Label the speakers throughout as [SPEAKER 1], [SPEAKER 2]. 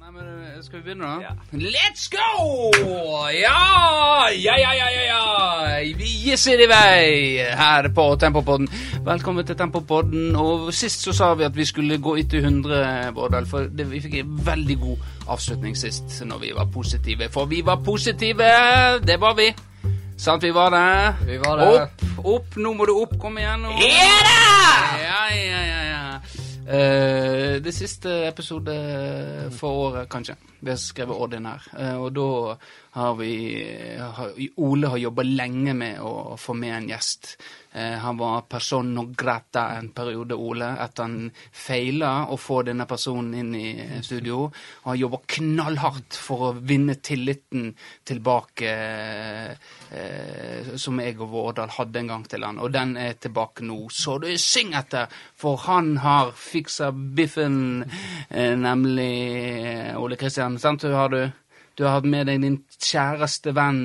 [SPEAKER 1] Nei, men eh, Skal vi begynne, da?
[SPEAKER 2] Ja.
[SPEAKER 1] Let's go! Ja! Ja, ja, ja, ja, ja! Vi gisser i vei her på Tempopodden. Velkommen til Tempopodden. Og sist så sa vi at vi skulle gå etter 100, Bårdal. For det, vi fikk en veldig god avslutning sist når vi var positive. For vi var positive! Det var vi. Sant, vi var det?
[SPEAKER 3] Vi var det.
[SPEAKER 1] Opp, opp. Nå må du opp. Kom igjen. nå. Ja, ja, ja, ja. Eh, det siste episode for året, kanskje. Vi har skrevet ordinær. Eh, og da har vi har, Ole har jobba lenge med å få med en gjest. Eh, han var person non grata en periode, Ole, etter han feila å få denne personen inn i studio. Og han jobba knallhardt for å vinne tilliten tilbake eh, som jeg og Vårdal hadde en gang til han, og den er tilbake nå. Så du syng etter, for han har fiksa biffen, eh, nemlig eh, Ole Kristian. Sant, du har du? Du har hatt med deg din kjæreste venn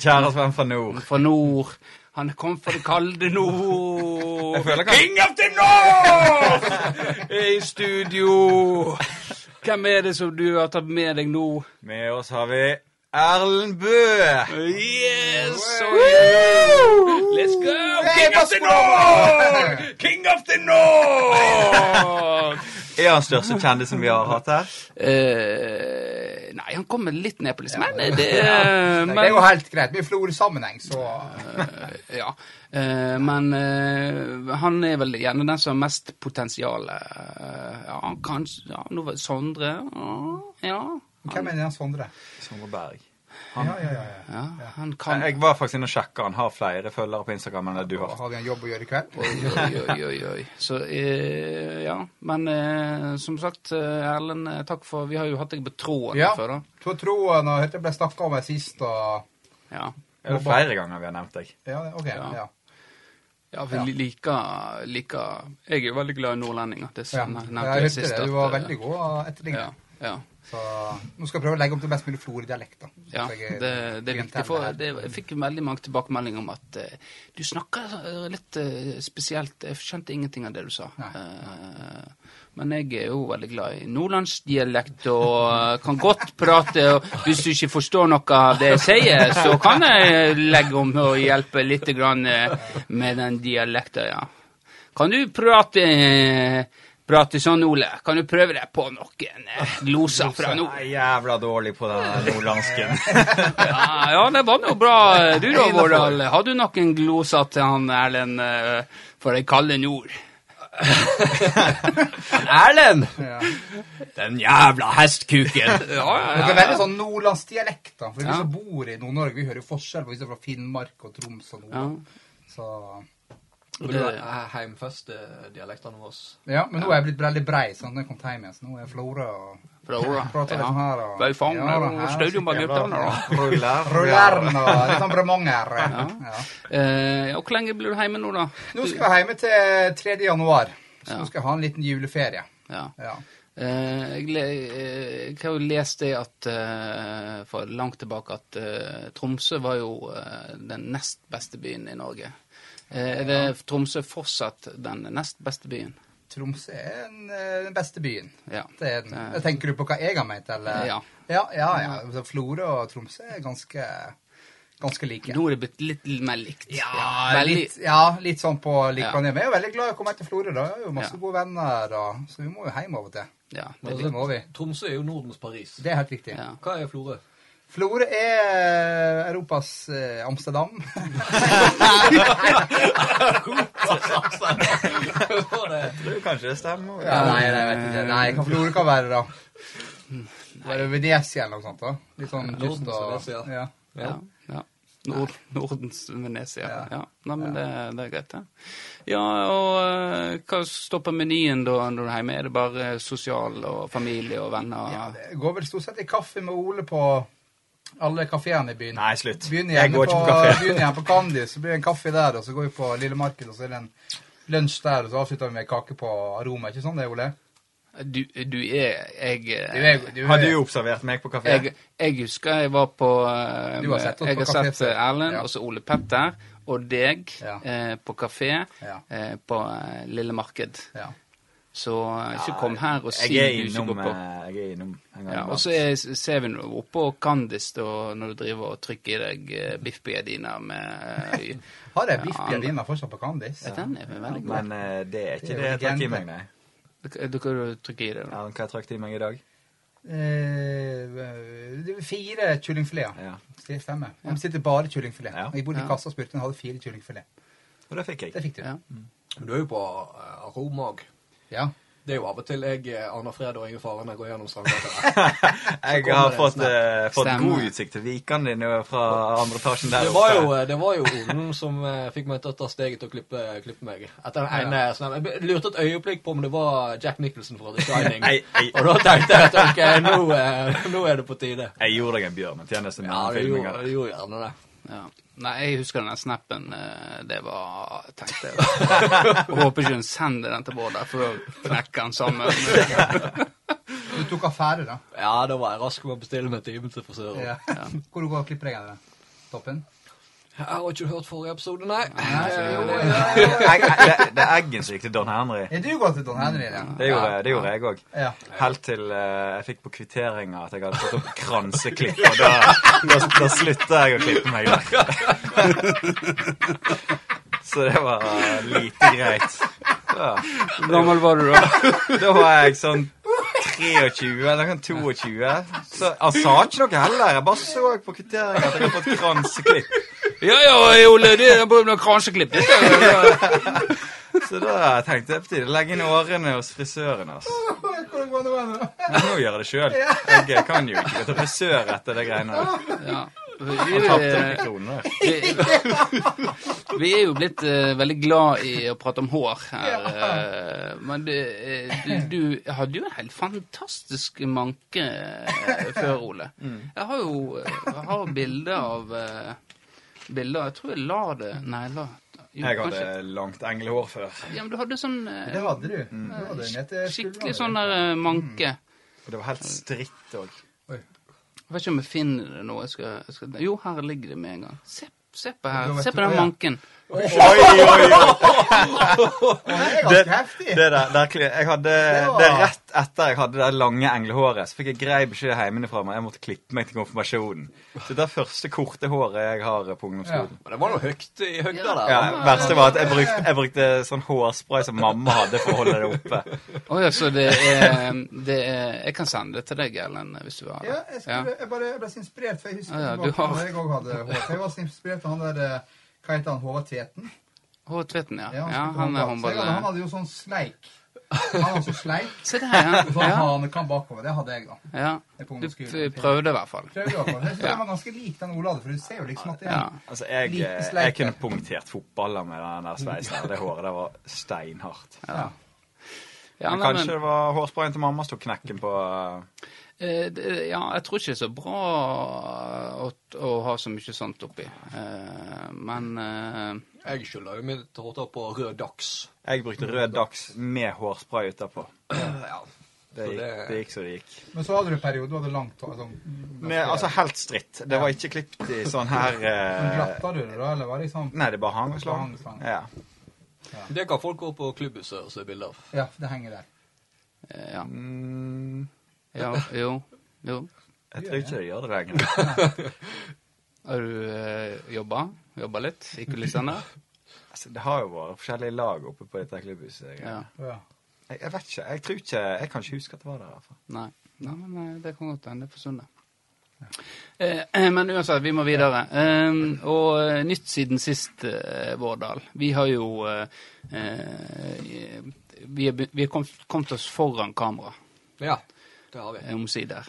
[SPEAKER 2] Kjære Sven fra nord.
[SPEAKER 1] fra nord. Han kom fra det kalde nord.
[SPEAKER 2] Jeg føler kanskje-
[SPEAKER 1] King of the North! I studio. Hvem er det som du har tatt med deg nå?
[SPEAKER 2] Med oss har vi Erlend Bø.
[SPEAKER 1] Yes! oh yeah. Let's go! King of the North! King of the North!
[SPEAKER 2] Er han største kjendisen vi har hatt her?
[SPEAKER 1] Eh, nei, han kommer litt ned på listen, men eh, det, men,
[SPEAKER 3] Det er jo helt greit. Vi er i florsammenheng, så
[SPEAKER 1] ja. Eh, men eh, han er vel gjerne den som har mest potensial. eh, ja, kanskje ja, nå var- Sondre ja, ja,
[SPEAKER 3] Hvem er den Sondre?
[SPEAKER 2] Sondre Berg.
[SPEAKER 3] Ja, ja, ja. ja.
[SPEAKER 1] ja. Han kan
[SPEAKER 2] Jeg var faktisk inne og sjekka. Han har flere følgere på Instagram enn det du har.
[SPEAKER 3] Har vi en jobb å gjøre i kveld?
[SPEAKER 1] Oi, oi, oi, oi. Så eh, ja. Men eh, som sagt, eh, Erlend, eh, takk for Vi har jo hatt deg på tråden
[SPEAKER 3] Ja.
[SPEAKER 1] før, da.
[SPEAKER 3] Så troen og hørte det ble snakka om her sist, og
[SPEAKER 1] Ja.
[SPEAKER 2] Det er flere ganger vi har nevnt deg.
[SPEAKER 3] Ja, OK.
[SPEAKER 1] Ja.
[SPEAKER 3] Ja.
[SPEAKER 1] ja vi liker, liker Jeg er jo veldig glad i nordlendinger. Det
[SPEAKER 3] ja.
[SPEAKER 1] nevnte
[SPEAKER 3] Jeg hørte det.
[SPEAKER 1] at,
[SPEAKER 3] Du var
[SPEAKER 1] eh,
[SPEAKER 3] veldig god å etterligne.
[SPEAKER 1] Ja. ja.
[SPEAKER 3] Så nå skal jeg prøve å legge om til mest mulig flordialekt, da.
[SPEAKER 1] Ja,
[SPEAKER 3] Så jeg-
[SPEAKER 1] det, det er viktig. For
[SPEAKER 3] eh, klientellet her.
[SPEAKER 1] det, jeg fikk veldig mange tilbakemeldinger om at eh, du snakker eh, litt eh, spesielt. Jeg skjønte ingenting av det du sa.
[SPEAKER 3] Nei,
[SPEAKER 1] Eh, men jeg er jo veldig glad i nordlandsdialekt og eh, kan godt prate. Og hvis du ikke forstår noe av det jeg sier, så kan jeg legge om og hjelpe litt grann, eh, med den dialekten, ja. Kan du prate eh, Prate sånn, Ole. Kan du prøve deg på noen eh, gloser fra nord?
[SPEAKER 2] Jeg er jævla dårlig på den nordlandsken.
[SPEAKER 1] Ja, Ah, ja, det var noe bra. eh, Du da, Vårdal. Har du noen gloser til han Erlend eh, for ei kalde nord?
[SPEAKER 4] Erlend!
[SPEAKER 3] Ja.
[SPEAKER 4] Den jævla hestkuken!
[SPEAKER 1] Ja, ja,
[SPEAKER 3] Det er
[SPEAKER 1] ja.
[SPEAKER 3] veldig sånn nordlandsdialekt, da. For vi
[SPEAKER 1] Ja.
[SPEAKER 3] som bor i Nord-Norge, vi hører jo forskjell på vi som er fra Finnmark og Troms og
[SPEAKER 1] ja.
[SPEAKER 3] Nordland. Så
[SPEAKER 1] Og
[SPEAKER 4] Det
[SPEAKER 1] det-
[SPEAKER 4] er heimfestdialektene våre.
[SPEAKER 3] Ja, men nå er jeg blitt veldig brei sånn, når jeg kom hjem igjen. Så nå er jeg Flora og
[SPEAKER 1] Fra Åra.
[SPEAKER 3] prater litt sånn
[SPEAKER 1] Ja.
[SPEAKER 3] her. og...
[SPEAKER 1] Ble fanget
[SPEAKER 3] Ja, da,
[SPEAKER 1] og
[SPEAKER 3] her
[SPEAKER 1] stødde jo
[SPEAKER 3] sitter
[SPEAKER 1] bare
[SPEAKER 3] jeg
[SPEAKER 1] guttene, da.
[SPEAKER 2] Ruller.
[SPEAKER 3] Rulleren og litt sånn bremong her. Ja.
[SPEAKER 1] Eh, og hvor lenge blir du hjemme nå, da?
[SPEAKER 3] Nå skal jeg hjemme til 3. januar. Så
[SPEAKER 1] Ja.
[SPEAKER 3] nå skal jeg ha en liten juleferie.
[SPEAKER 1] Ja.
[SPEAKER 3] Ja.
[SPEAKER 1] Eh, jeg, le, eh, jeg har jo lest det at eh, for langt tilbake at eh, Tromsø var jo eh, den nest beste byen i Norge. Eh, er det Tromsø fortsatt den nest beste byen?
[SPEAKER 3] Tromsø er den, eh, den beste byen.
[SPEAKER 1] Ja.
[SPEAKER 3] Det er den. Jeg tenker du på hva jeg har ment, eller?
[SPEAKER 1] Ja.
[SPEAKER 3] Ja, ja. ja. Så Florø og Tromsø er ganske, ganske like.
[SPEAKER 1] Nå er det blitt litt mer likt.
[SPEAKER 3] Ja,
[SPEAKER 1] Veldig-
[SPEAKER 3] litt, ja, litt sånn på lik
[SPEAKER 1] Ja.
[SPEAKER 3] linje. Men jeg er jo veldig glad i å komme hjem til Florø. da. Jeg har jo masse
[SPEAKER 1] Ja.
[SPEAKER 3] gode venner, og, så vi må jo hjem av og til.
[SPEAKER 1] Ja, det,
[SPEAKER 3] Det må vi.
[SPEAKER 4] Tromsø er jo Nordens Paris.
[SPEAKER 3] Det er helt riktig.
[SPEAKER 1] ja.
[SPEAKER 4] Hva er Florø?
[SPEAKER 3] Florø er Europas eh, Amsterdam.
[SPEAKER 2] Jeg tror kanskje det stemmer.
[SPEAKER 3] Ja, nei, nei, jeg vet ikke. Nei, hva Florø kan være, da? Være Venezia eller noe sånt. da. Litt sånn
[SPEAKER 4] Norden,
[SPEAKER 3] dyst
[SPEAKER 4] Venezia.
[SPEAKER 3] og ja.
[SPEAKER 1] ja, ja. Nord, Nordens Venezia. Ja.
[SPEAKER 3] Ja.
[SPEAKER 1] Nei, men det, det er greit, det. Ja, og eh, hva står på menyen da når du er hjemme? Er det bare sosial og familie og venner?
[SPEAKER 3] ja. Det går vel stort sett i kaffe med Ole på alle kafeene i byen.
[SPEAKER 2] Nei, slutt.
[SPEAKER 3] Begynner
[SPEAKER 2] Jeg
[SPEAKER 3] gjerne
[SPEAKER 2] går
[SPEAKER 3] på,
[SPEAKER 2] ikke på kafé.
[SPEAKER 3] begynner gjerne på Candy, så blir det en kaffe der, og så går vi på Lille Marked, og så er det en lunsj der, og så avslutter vi med kake på Aroma. Ikke sånn det, Ole?
[SPEAKER 1] Du, du er Jeg eh,
[SPEAKER 3] Du er, du er,
[SPEAKER 2] Har du observert meg på kafé?
[SPEAKER 1] jeg, jeg husker jeg var på eh,
[SPEAKER 3] Du har sett oss
[SPEAKER 1] Jeg
[SPEAKER 3] på
[SPEAKER 1] har
[SPEAKER 3] kafé
[SPEAKER 1] sett
[SPEAKER 3] før.
[SPEAKER 1] eh, Erlend
[SPEAKER 3] Ja.
[SPEAKER 1] og så Ole Petter og deg
[SPEAKER 3] Ja.
[SPEAKER 1] eh, på kafé
[SPEAKER 3] Ja.
[SPEAKER 1] eh, på eh, Lille Marked.
[SPEAKER 3] Ja.
[SPEAKER 1] Så eh, ikke kom her og si
[SPEAKER 2] Jeg er
[SPEAKER 1] du ikke
[SPEAKER 2] innom,
[SPEAKER 1] går på.
[SPEAKER 2] eh, jeg er innom en gang
[SPEAKER 1] Ja, og
[SPEAKER 2] iblant.
[SPEAKER 1] så er- ser vi nå oppå Candis da, når du driver og trykker i deg eh, biff biadina med eh,
[SPEAKER 3] Har jeg
[SPEAKER 1] Ja,
[SPEAKER 3] biff
[SPEAKER 1] han-
[SPEAKER 3] biadina fortsatt på Candis?
[SPEAKER 1] Den er veldig god.
[SPEAKER 2] Men eh, det er
[SPEAKER 3] Det er
[SPEAKER 2] ikke det jeg trakk i meg, nei.
[SPEAKER 1] Du- Du kan trykke i det.
[SPEAKER 2] Ja,
[SPEAKER 1] da.
[SPEAKER 2] hva jeg trakk i meg i dag?
[SPEAKER 3] Eh, det var fire kyllingfileter.
[SPEAKER 2] Ja.
[SPEAKER 3] Det stemmer. De sitter bare kyllingfilet.
[SPEAKER 2] Ja.
[SPEAKER 3] Jeg bodde
[SPEAKER 1] Ja.
[SPEAKER 3] i kassa og spurte om de hadde fire kyllingfilet.
[SPEAKER 2] Og det fikk jeg.
[SPEAKER 3] Det fikk du.
[SPEAKER 1] Ja.
[SPEAKER 4] Men du er jo på eh, aroma òg.
[SPEAKER 3] Ja.
[SPEAKER 4] Det er jo av og til jeg, eh, Arne Fred og Inge Faren jeg går gjennom Strandgata.
[SPEAKER 2] Jeg
[SPEAKER 4] kommer
[SPEAKER 2] har
[SPEAKER 4] det
[SPEAKER 2] fått,
[SPEAKER 4] snart.
[SPEAKER 2] eh, fått
[SPEAKER 1] Stemmer.
[SPEAKER 2] god utsikt til Vikan din nå fra andre etasjen der
[SPEAKER 4] Det var jo, eh,
[SPEAKER 2] oppe.
[SPEAKER 4] det var jo Olen som eh, fikk meg til å ta steget til å klippe, klippe meg. Etter den ene sånn, Jeg lurte et øyeblikk på om det var Jack Nicholson fra The Shining.
[SPEAKER 2] Nei, jeg,
[SPEAKER 4] Og da tenkte jeg at ok, nå, eh, nå er det på tide.
[SPEAKER 2] jeg gjorde deg en bjørnetjeneste med
[SPEAKER 4] Ja,
[SPEAKER 2] den
[SPEAKER 4] det
[SPEAKER 2] filminga.
[SPEAKER 4] gjorde, det gjorde gjerne det.
[SPEAKER 1] Ja. Nei, jeg husker den der snappen. eh, Det var Jeg tenkte jeg Håper ikke hun sender den til Bård der, for da knekker han sammen.
[SPEAKER 3] Du tok affære, da.
[SPEAKER 4] Ja, da var jeg rask med å bestille meg time til frisøren.
[SPEAKER 3] Ja. Hvor du går og klipper deg av det? Toppen?
[SPEAKER 4] Jeg har ikke hørt forrige episode, nei.
[SPEAKER 3] jo,
[SPEAKER 4] Eh,
[SPEAKER 2] Jeg- jeg- Det det er Eggen som gikk til Don Henry.
[SPEAKER 3] Er du gått til Don Henry? Ja.
[SPEAKER 2] Det gjorde, det gjorde jeg òg.
[SPEAKER 3] Ja.
[SPEAKER 2] Helt til eh, jeg fikk på kvitteringa at jeg hadde fått opp kranseklipp. Og da, da, da slutta jeg å klippe meg der. Så det var eh, lite greit. Ja.
[SPEAKER 1] Hvor gammel var du da?
[SPEAKER 2] Da var jeg sånn 23 eller sånn 22. Så han sa ikke noe heller. Jeg bare så på kvitteringen at jeg hadde fått kranseklipp.
[SPEAKER 1] Ja ja, Ole, det er bare noen kranseklipp. Det er jo-
[SPEAKER 2] Så da tenkte jeg på tide å legge inn årene hos frisøren. Altså.
[SPEAKER 3] Hvor går det med det?
[SPEAKER 2] Men nå gjør jeg det sjøl. Jeg kan jo ikke gå til frisør etter de greiene der.
[SPEAKER 1] Ja.
[SPEAKER 2] Han tapte noen kroner.
[SPEAKER 1] Vi, vi er jo blitt eh, veldig glad i å prate om hår her. eh, men det, eh, du, du hadde jo en helt fantastisk manke eh, før, Ole.
[SPEAKER 3] Mm.
[SPEAKER 1] Jeg har jo eh, jeg har bilder av eh, Bilder Jeg tror jeg la det Nei, jeg la jo,
[SPEAKER 2] Jeg hadde
[SPEAKER 1] kanskje-
[SPEAKER 2] langt englehår før.
[SPEAKER 1] Ja, men du hadde sånn eh,
[SPEAKER 3] Det hadde du.
[SPEAKER 2] Mm.
[SPEAKER 3] Du hadde en etter skuldrene.
[SPEAKER 1] skikkelig sånn der eh,
[SPEAKER 3] Mm.
[SPEAKER 1] manke.
[SPEAKER 2] Og det var helt stritt òg.
[SPEAKER 1] Jeg vet ikke om jeg finner det nå. Jeg skal, jeg skal, jo, her ligger det med en gang. Se, se på
[SPEAKER 3] Du
[SPEAKER 1] her.
[SPEAKER 3] vet
[SPEAKER 1] Se på
[SPEAKER 3] hva,
[SPEAKER 1] den
[SPEAKER 3] ja.
[SPEAKER 1] manken.
[SPEAKER 2] Oi, oi, oi.
[SPEAKER 3] Å, Det er
[SPEAKER 2] Det,
[SPEAKER 3] ganske heftig.
[SPEAKER 2] det der, der kli- jeg hadde,
[SPEAKER 3] Det var-
[SPEAKER 2] det er Rett etter jeg hadde det lange englehåret, så fikk jeg grei beskjed hjemmefra om at jeg måtte klippe meg til konfirmasjonen. Så det er første korte håret jeg har på ungdomsskolen.
[SPEAKER 4] Men det var noe høyt i høyda
[SPEAKER 1] Ja.
[SPEAKER 4] der.
[SPEAKER 2] Ja, verste var at jeg brukte, jeg brukte sånn hårspray som mamma hadde for å holde det oppe.
[SPEAKER 1] Å ja, så det er, det er Jeg kan sende det til deg, Erlend, hvis du har det.
[SPEAKER 3] Ja, jeg, skulle, jeg, bare, jeg ble så inspirert, for jeg husker
[SPEAKER 1] Ja, ja,
[SPEAKER 3] tilbake
[SPEAKER 1] du har-
[SPEAKER 3] når jeg også hadde hår. For Jeg var så inspirert av han der eh, Hva heter han? Håvard Tveten?
[SPEAKER 1] H. Tveten, ja.
[SPEAKER 3] Ja,
[SPEAKER 1] ja. Han er
[SPEAKER 3] spilte håndball. Så jeg hadde- Han
[SPEAKER 1] håndball...
[SPEAKER 3] hadde jo sånn sleik. Han hadde sånn sleik.
[SPEAKER 1] Se der, ja.
[SPEAKER 3] Sånn
[SPEAKER 1] ja.
[SPEAKER 3] hanekam bakover. Det hadde jeg, da.
[SPEAKER 1] ja.
[SPEAKER 3] Jeg er på
[SPEAKER 1] Du
[SPEAKER 3] ungdomsskolen.
[SPEAKER 1] p- prøvde i hvert fall.
[SPEAKER 3] Prøvde i hvert fall. Jeg synes
[SPEAKER 1] Ja.
[SPEAKER 3] Den var ganske lik den Ola hadde, for du ser jo liksom at det er
[SPEAKER 1] Ja.
[SPEAKER 2] Altså, jeg,
[SPEAKER 3] Like sleike.
[SPEAKER 2] jeg kunne punktert fotballer med den der sveisen. og Det håret der var steinhardt.
[SPEAKER 3] Ja.
[SPEAKER 1] Ja,
[SPEAKER 2] Men
[SPEAKER 1] nei,
[SPEAKER 2] kanskje
[SPEAKER 1] men,
[SPEAKER 2] det var hårsprayen til mamma som tok knekken på
[SPEAKER 1] eh, det- ja, jeg tror ikke det er så bra å, å ha så mye sånt oppi. Eh, men eh,
[SPEAKER 4] Jeg skylder jo mitt hårtap på rød dags.
[SPEAKER 2] eh, Jeg brukte rød dags med hårspray utapå.
[SPEAKER 4] Ja.
[SPEAKER 2] Det
[SPEAKER 4] Så
[SPEAKER 2] gikk,
[SPEAKER 4] det-
[SPEAKER 2] det gikk så det gikk.
[SPEAKER 3] Men så hadde du en periode du hadde langt hår. Sånn,
[SPEAKER 2] Med, altså helt stritt. Det var ikke klippet i sånn her
[SPEAKER 3] Men
[SPEAKER 2] eh,
[SPEAKER 3] glatta du det da, eller var det liksom
[SPEAKER 2] Nei, det bare hang og slang.
[SPEAKER 3] Hang og slang.
[SPEAKER 2] Ja.
[SPEAKER 4] Det kan folk gå på klubbhuset og se bilder av.
[SPEAKER 3] Ja, det henger der.
[SPEAKER 1] eh, ja.
[SPEAKER 2] Mm,
[SPEAKER 1] ja. Jo. Jo.
[SPEAKER 2] jeg tror ikke det gjør det lenger.
[SPEAKER 1] Har du eh, jobba? Jobba litt i kulissene?
[SPEAKER 2] Altså, det har jo vært forskjellige lag oppe på dette klubbhuset.
[SPEAKER 1] Ja.
[SPEAKER 2] Jeg,
[SPEAKER 3] Ja.
[SPEAKER 2] jeg vet ikke. Jeg tror ikke Jeg kan ikke huske at det var der. i hvert fall.
[SPEAKER 1] Nei. Nei, men eh, det kan godt hende. Det forsvinner. Eh, eh, men uansett, vi må videre. Eh, og eh, nytt siden sist, eh, Vårdal. Vi har jo eh, eh, Vi er, be- vi er kommet, kommet oss foran kamera,
[SPEAKER 4] Ja, det har vi.
[SPEAKER 1] eh, omsider.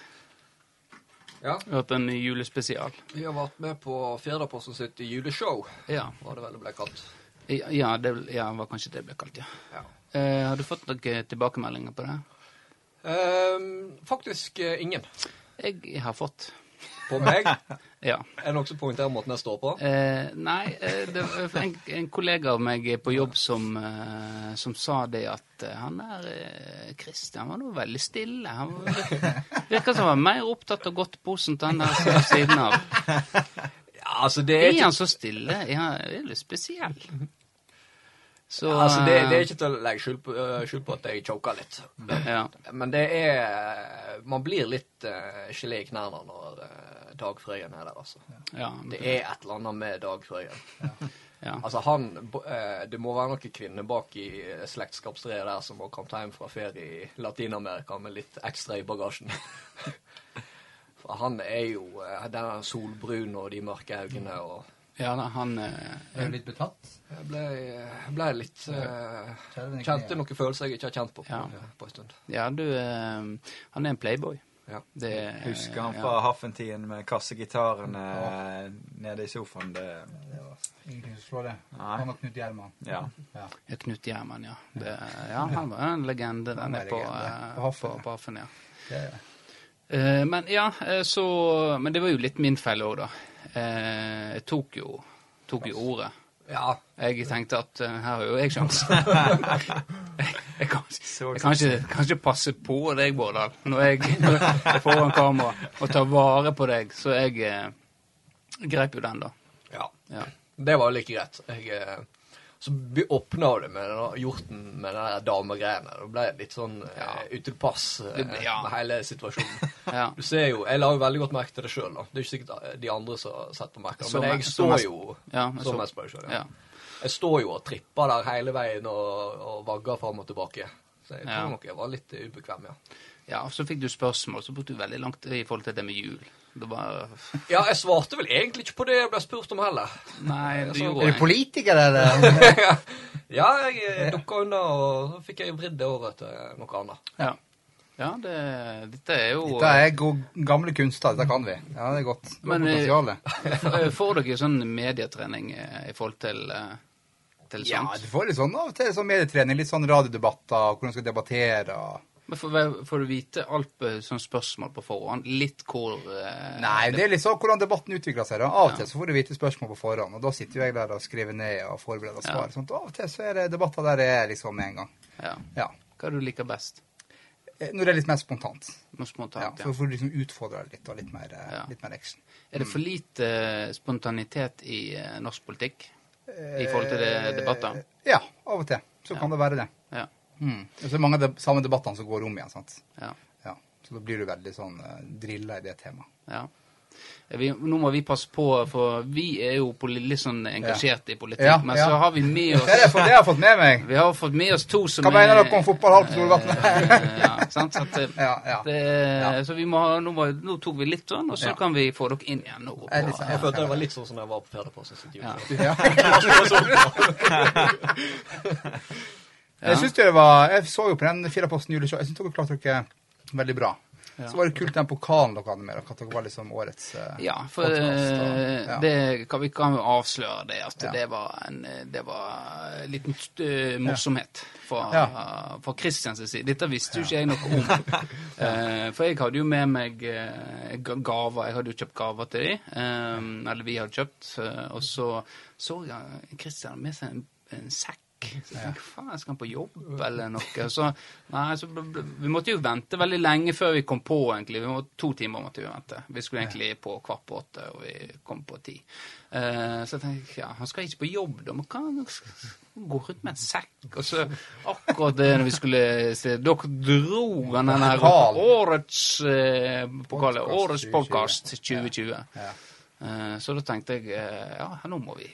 [SPEAKER 4] Ja,
[SPEAKER 1] Vi har hatt en julespesial.
[SPEAKER 4] Vi har vært med på Fjerdaposten sitt juleshow,
[SPEAKER 1] Ja.
[SPEAKER 4] var det vel det ble kalt.
[SPEAKER 1] Ja, det ja, var kanskje det ble kalt, ja.
[SPEAKER 4] Ja.
[SPEAKER 1] Eh, har du fått noen tilbakemeldinger på det?
[SPEAKER 4] Ehm, faktisk eh, ingen.
[SPEAKER 1] Jeg har fått.
[SPEAKER 4] På meg. Er
[SPEAKER 1] Ja.
[SPEAKER 4] det noen som poengterer måten jeg står på?
[SPEAKER 1] Eh, nei, eh, det var en, en kollega av meg på jobb som, eh, som sa det at eh, han der eh, Christian var nå veldig stille. Han var, virker som han var mer opptatt av godtposen til han der som er ved siden av.
[SPEAKER 4] Ja, altså det
[SPEAKER 1] Er han så stille? Er han er litt spesiell? Så
[SPEAKER 4] altså, det, det
[SPEAKER 1] eh, Mm.
[SPEAKER 4] er ikke til å legge skjul på, øh, skjul på at jeg choker litt.
[SPEAKER 1] ja.
[SPEAKER 4] Men det er eh, Man blir litt øh, gelé i knærne når øh, Dag Frøyen er der, altså.
[SPEAKER 1] ja,
[SPEAKER 4] Det er et eller annet med Dag Frøyen.
[SPEAKER 1] ja.
[SPEAKER 4] Altså, han bo- eh, Det må være noen kvinner bak i slektskapstreet der som har kommet hjem fra ferie i Latin-Amerika med litt ekstra i bagasjen. For han er jo eh, Den er solbrun og de mørke øynene
[SPEAKER 1] Mm.
[SPEAKER 4] og
[SPEAKER 1] ja da, han eh,
[SPEAKER 3] Er du litt betatt?
[SPEAKER 4] Jeg ble, ble litt eh,
[SPEAKER 3] Kjære venn,
[SPEAKER 4] Kjente noen følelser jeg ikke har kjent på på,
[SPEAKER 1] Ja.
[SPEAKER 4] på en stund.
[SPEAKER 1] Ja, du eh, Han er en playboy.
[SPEAKER 4] Ja.
[SPEAKER 1] Det, er-
[SPEAKER 2] Husker han
[SPEAKER 1] Eh, ja.
[SPEAKER 2] fra Haffentiden med kassegitarene nede i sofaen. Det,
[SPEAKER 3] Det var ingenting som slår det.
[SPEAKER 2] Nei.
[SPEAKER 3] Han og Knut Gjerman.
[SPEAKER 2] ja.
[SPEAKER 3] Ja.
[SPEAKER 1] Ja, Knut Gjerman, ja. Det, ja. Han var en legende der
[SPEAKER 3] Han var
[SPEAKER 1] nede på, eh,
[SPEAKER 3] legende. På
[SPEAKER 1] på
[SPEAKER 3] Haffen, ja.
[SPEAKER 1] på Haffen, ja.
[SPEAKER 3] Det er det.
[SPEAKER 1] Eh, men ja, eh, så Men det var jo litt min feil òg, da. Eh, jeg tok jo, tok jo ordet.
[SPEAKER 4] ja.
[SPEAKER 1] Jeg tenkte at eh, her har jo jeg sjanse. jeg kan,
[SPEAKER 2] Så
[SPEAKER 1] jeg kan, ikke, kan ikke passe på deg, Bårdal, når jeg når jeg er foran kamera og tar vare på deg. Så jeg eh, grep jo den, da.
[SPEAKER 4] ja.
[SPEAKER 1] Ja.
[SPEAKER 4] Det var like greit. Jeg, eh, så be- åpna det med den der hjorten med den der damegreiene. Det ble litt sånn eh, utilpass eh,
[SPEAKER 1] Det ble- ja.
[SPEAKER 4] med hele situasjonen.
[SPEAKER 1] Ja.
[SPEAKER 4] Du ser jo, Jeg la jo veldig godt merke til det sjøl. Det er ikke sikkert eh, de andre som har sett på merker,
[SPEAKER 1] Så
[SPEAKER 4] men
[SPEAKER 1] me-
[SPEAKER 4] jeg
[SPEAKER 1] så
[SPEAKER 4] står
[SPEAKER 1] mest-
[SPEAKER 4] jo
[SPEAKER 1] ja, jeg så-
[SPEAKER 4] så mest på det selv,
[SPEAKER 1] Ja.
[SPEAKER 4] ja. Jeg står jo og tripper der hele veien og, og vagger fram og tilbake. Så jeg tror
[SPEAKER 1] Ja.
[SPEAKER 4] nok jeg var litt eh, ubekvem, ja.
[SPEAKER 1] ja, og så fikk du spørsmål, så brukte du veldig langt i forhold til det med jul. Det var
[SPEAKER 4] Ja, jeg svarte vel egentlig ikke på det jeg ble spurt om heller.
[SPEAKER 1] Nei, du
[SPEAKER 4] Så-
[SPEAKER 1] gjorde
[SPEAKER 3] Er du
[SPEAKER 1] det.
[SPEAKER 3] politiker, eller?
[SPEAKER 4] Ja, jeg eh, dukka unna, og så fikk jeg vridd det over til noe annet.
[SPEAKER 1] Ja, ja det, dette er jo
[SPEAKER 3] Dette er gode, gamle kunstnere, dette kan vi. Ja, det er godt. Det
[SPEAKER 1] Men,
[SPEAKER 3] er potensialet.
[SPEAKER 1] F- Får dere sånn medietrening eh, i forhold til, eh, til
[SPEAKER 3] Ja,
[SPEAKER 1] sånt?
[SPEAKER 3] du får litt sånn av og til sånn medietrening, litt sånn radiodebatter, og hvordan du skal debattere. og...
[SPEAKER 1] Men får, får du vite alt på sånn spørsmål på forhånd? Litt hvor eh,
[SPEAKER 3] Nei, det er litt sånn hvordan debatten utvikler seg. da. Av og til så får du vite spørsmål på forhånd, og da sitter jo jeg der og skriver ned og forbereder svar. Sånt. Av og til så er det debatter der jeg er liksom med en gang.
[SPEAKER 1] ja.
[SPEAKER 3] Ja.
[SPEAKER 1] Hva er det du liker best?
[SPEAKER 3] Eh, Når det er litt mer spontant.
[SPEAKER 1] Noe
[SPEAKER 3] Ja,
[SPEAKER 1] spontant, ja.
[SPEAKER 3] så får du liksom utfordre det litt, og litt mer, eh,
[SPEAKER 1] Ja.
[SPEAKER 3] litt mer action.
[SPEAKER 1] Er det for lite eh, spontanitet i eh, norsk politikk i forhold til det debatter?
[SPEAKER 3] Eh, Ja, av og til. Så kan det være det.
[SPEAKER 1] Ja.
[SPEAKER 3] Mm. Og så er det mange av de samme debattene som går om igjen, sant.
[SPEAKER 1] ja.
[SPEAKER 3] Ja. Så da blir du veldig sånn eh, drilla i det temaet.
[SPEAKER 1] ja. Vi, nå må vi passe på, for vi er jo poli, litt sånn engasjert i politikk.
[SPEAKER 3] Ja,
[SPEAKER 1] Men
[SPEAKER 3] ja.
[SPEAKER 1] så har vi med
[SPEAKER 3] Det, er det,
[SPEAKER 1] oss
[SPEAKER 3] for, det har jeg fått med meg.
[SPEAKER 1] Vi har fått med oss to som
[SPEAKER 3] Hva mener dere om fotball, Harp Solvatn?
[SPEAKER 1] Eh, ja, sant? Så at, eh,
[SPEAKER 3] Ja, ja.
[SPEAKER 1] Det, Så vi må ha, nå, var- nå tok vi litt sånn, og så
[SPEAKER 3] Ja.
[SPEAKER 1] kan vi få dere inn igjen. nå.
[SPEAKER 3] Jeg er litt sånn-
[SPEAKER 4] Jeg følte det var litt sånn som jeg var på Fjerdeplass.
[SPEAKER 1] Ja.
[SPEAKER 3] Ja. Jeg synes det var, jeg så jo på den Firaposten juleshow, jeg synes dere klarte dere veldig bra.
[SPEAKER 1] Ja.
[SPEAKER 3] Så var det kult den pokalen dere hadde med dere, at dere var liksom årets eh,
[SPEAKER 1] Ja, for
[SPEAKER 3] podcast, og-
[SPEAKER 1] eh,
[SPEAKER 3] ja.
[SPEAKER 1] det, kan, vi kan jo avsløre det, at
[SPEAKER 3] Ja.
[SPEAKER 1] det var en eh, det var en liten eh, morsomhet fra,
[SPEAKER 3] Ja.
[SPEAKER 1] fra Christians side. Dette visste jo ikke jeg noe om. Eh, for jeg hadde jo med meg eh, ga- gaver, jeg hadde jo kjøpt gaver til dem, Ehm, eller vi hadde kjøpt, eh, og så så jeg Christian med seg en, en sekk. Så jeg tenkte, faen, skal han på jobb eller noe? Så, nei, så ble- ble- vi måtte jo vente veldig lenge før vi kom på, egentlig. Vi må, to timer måtte vi vente. Vi skulle egentlig på kvart på åtte, og vi kom på ti. Eh, så jeg tenkte ja, han skal ikke på jobb, da. Men hva han skal gå rundt med en sekk? Og så akkurat det når vi skulle se Dere dro han den her
[SPEAKER 3] Pokal.
[SPEAKER 1] årets eh, pokal,
[SPEAKER 3] Podcast
[SPEAKER 1] årets
[SPEAKER 3] 2020.
[SPEAKER 1] podkast 2020.
[SPEAKER 3] Ja.
[SPEAKER 1] Eh, så da tenkte jeg eh, ja, nå må vi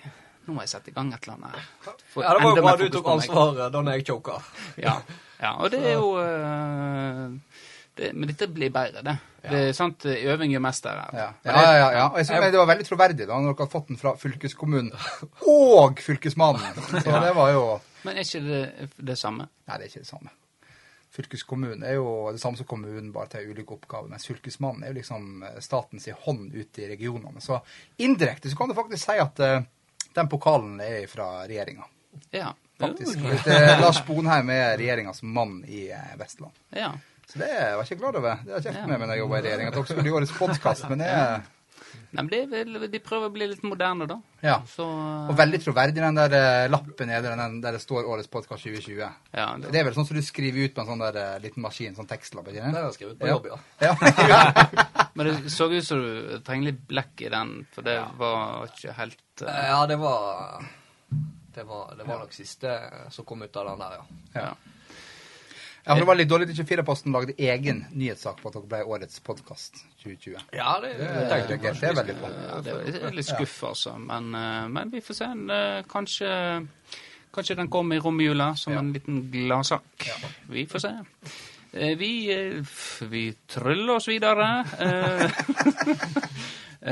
[SPEAKER 1] nå må jeg sette i gang et eller annet. her. Få
[SPEAKER 4] Ja, det var
[SPEAKER 1] enda
[SPEAKER 4] jo bra
[SPEAKER 1] mer
[SPEAKER 4] du
[SPEAKER 1] fokus
[SPEAKER 4] tok
[SPEAKER 1] på meg.
[SPEAKER 4] ansvaret da når jeg choka.
[SPEAKER 1] Ja, ja og det er jo eh, det, Men dette blir bedre, det. Det er sant, eh, Øving gjør mester her.
[SPEAKER 3] Ja. ja, ja, ja. Og jeg synes det var veldig troverdig da, når dere hadde fått den fra fylkeskommunen OG fylkesmannen. Så det var jo
[SPEAKER 1] Men er ikke det det samme?
[SPEAKER 3] Nei, det er ikke det samme. Fylkeskommunen er jo det samme som kommunen, bare til ulike oppgaver. Mens fylkesmannen er jo liksom eh, statens i hånd ute i regionene. Så indirekte så kan du faktisk si at eh, den pokalen er fra regjeringa.
[SPEAKER 1] Ja.
[SPEAKER 3] faktisk. Hvis det er Lars Bonheim er regjeringas mann i eh, Vestland.
[SPEAKER 1] Ja.
[SPEAKER 3] Så det var jeg ikke klar over. Det har jeg kjeft med meg når jeg jobba i regjering. At dere skulle bli årets podkast, men det er
[SPEAKER 1] Nei, men det er vel, de prøver å bli litt moderne, da.
[SPEAKER 3] Ja.
[SPEAKER 1] Så
[SPEAKER 3] Og veldig troverdig, den der eh, lappen nede den der det står 'Årets podkast 2020'.
[SPEAKER 1] ja, det,
[SPEAKER 3] Det er vel sånn som du skriver ut på en sånn der eh, liten maskin, sånn tekstlapp? ikke
[SPEAKER 4] Den
[SPEAKER 3] det?
[SPEAKER 4] har jeg skrevet på jobb, ja.
[SPEAKER 3] Ja.
[SPEAKER 1] Men det så ut som du trenger litt blekk i den, for det var ikke helt eh,
[SPEAKER 4] Ja, det var Det var, det var nok siste som kom ut av den der, ja.
[SPEAKER 1] Ja.
[SPEAKER 3] Ja, for Det var litt dårlig at 24-posten lagde egen nyhetssak på at dere ble årets podkast 2020.
[SPEAKER 4] Ja, det,
[SPEAKER 3] Det er
[SPEAKER 4] tenkte jeg kanskje.
[SPEAKER 3] det er veldig bra.
[SPEAKER 1] Ja, det er- det er litt skuff, altså. Men, eh, men vi får se. Eh, Kanskje, kanskje den kommer i romjula som
[SPEAKER 3] Ja.
[SPEAKER 1] en liten gladsak. Vi får se. Eh, Vi, eh, f- vi tryller oss videre. Eh,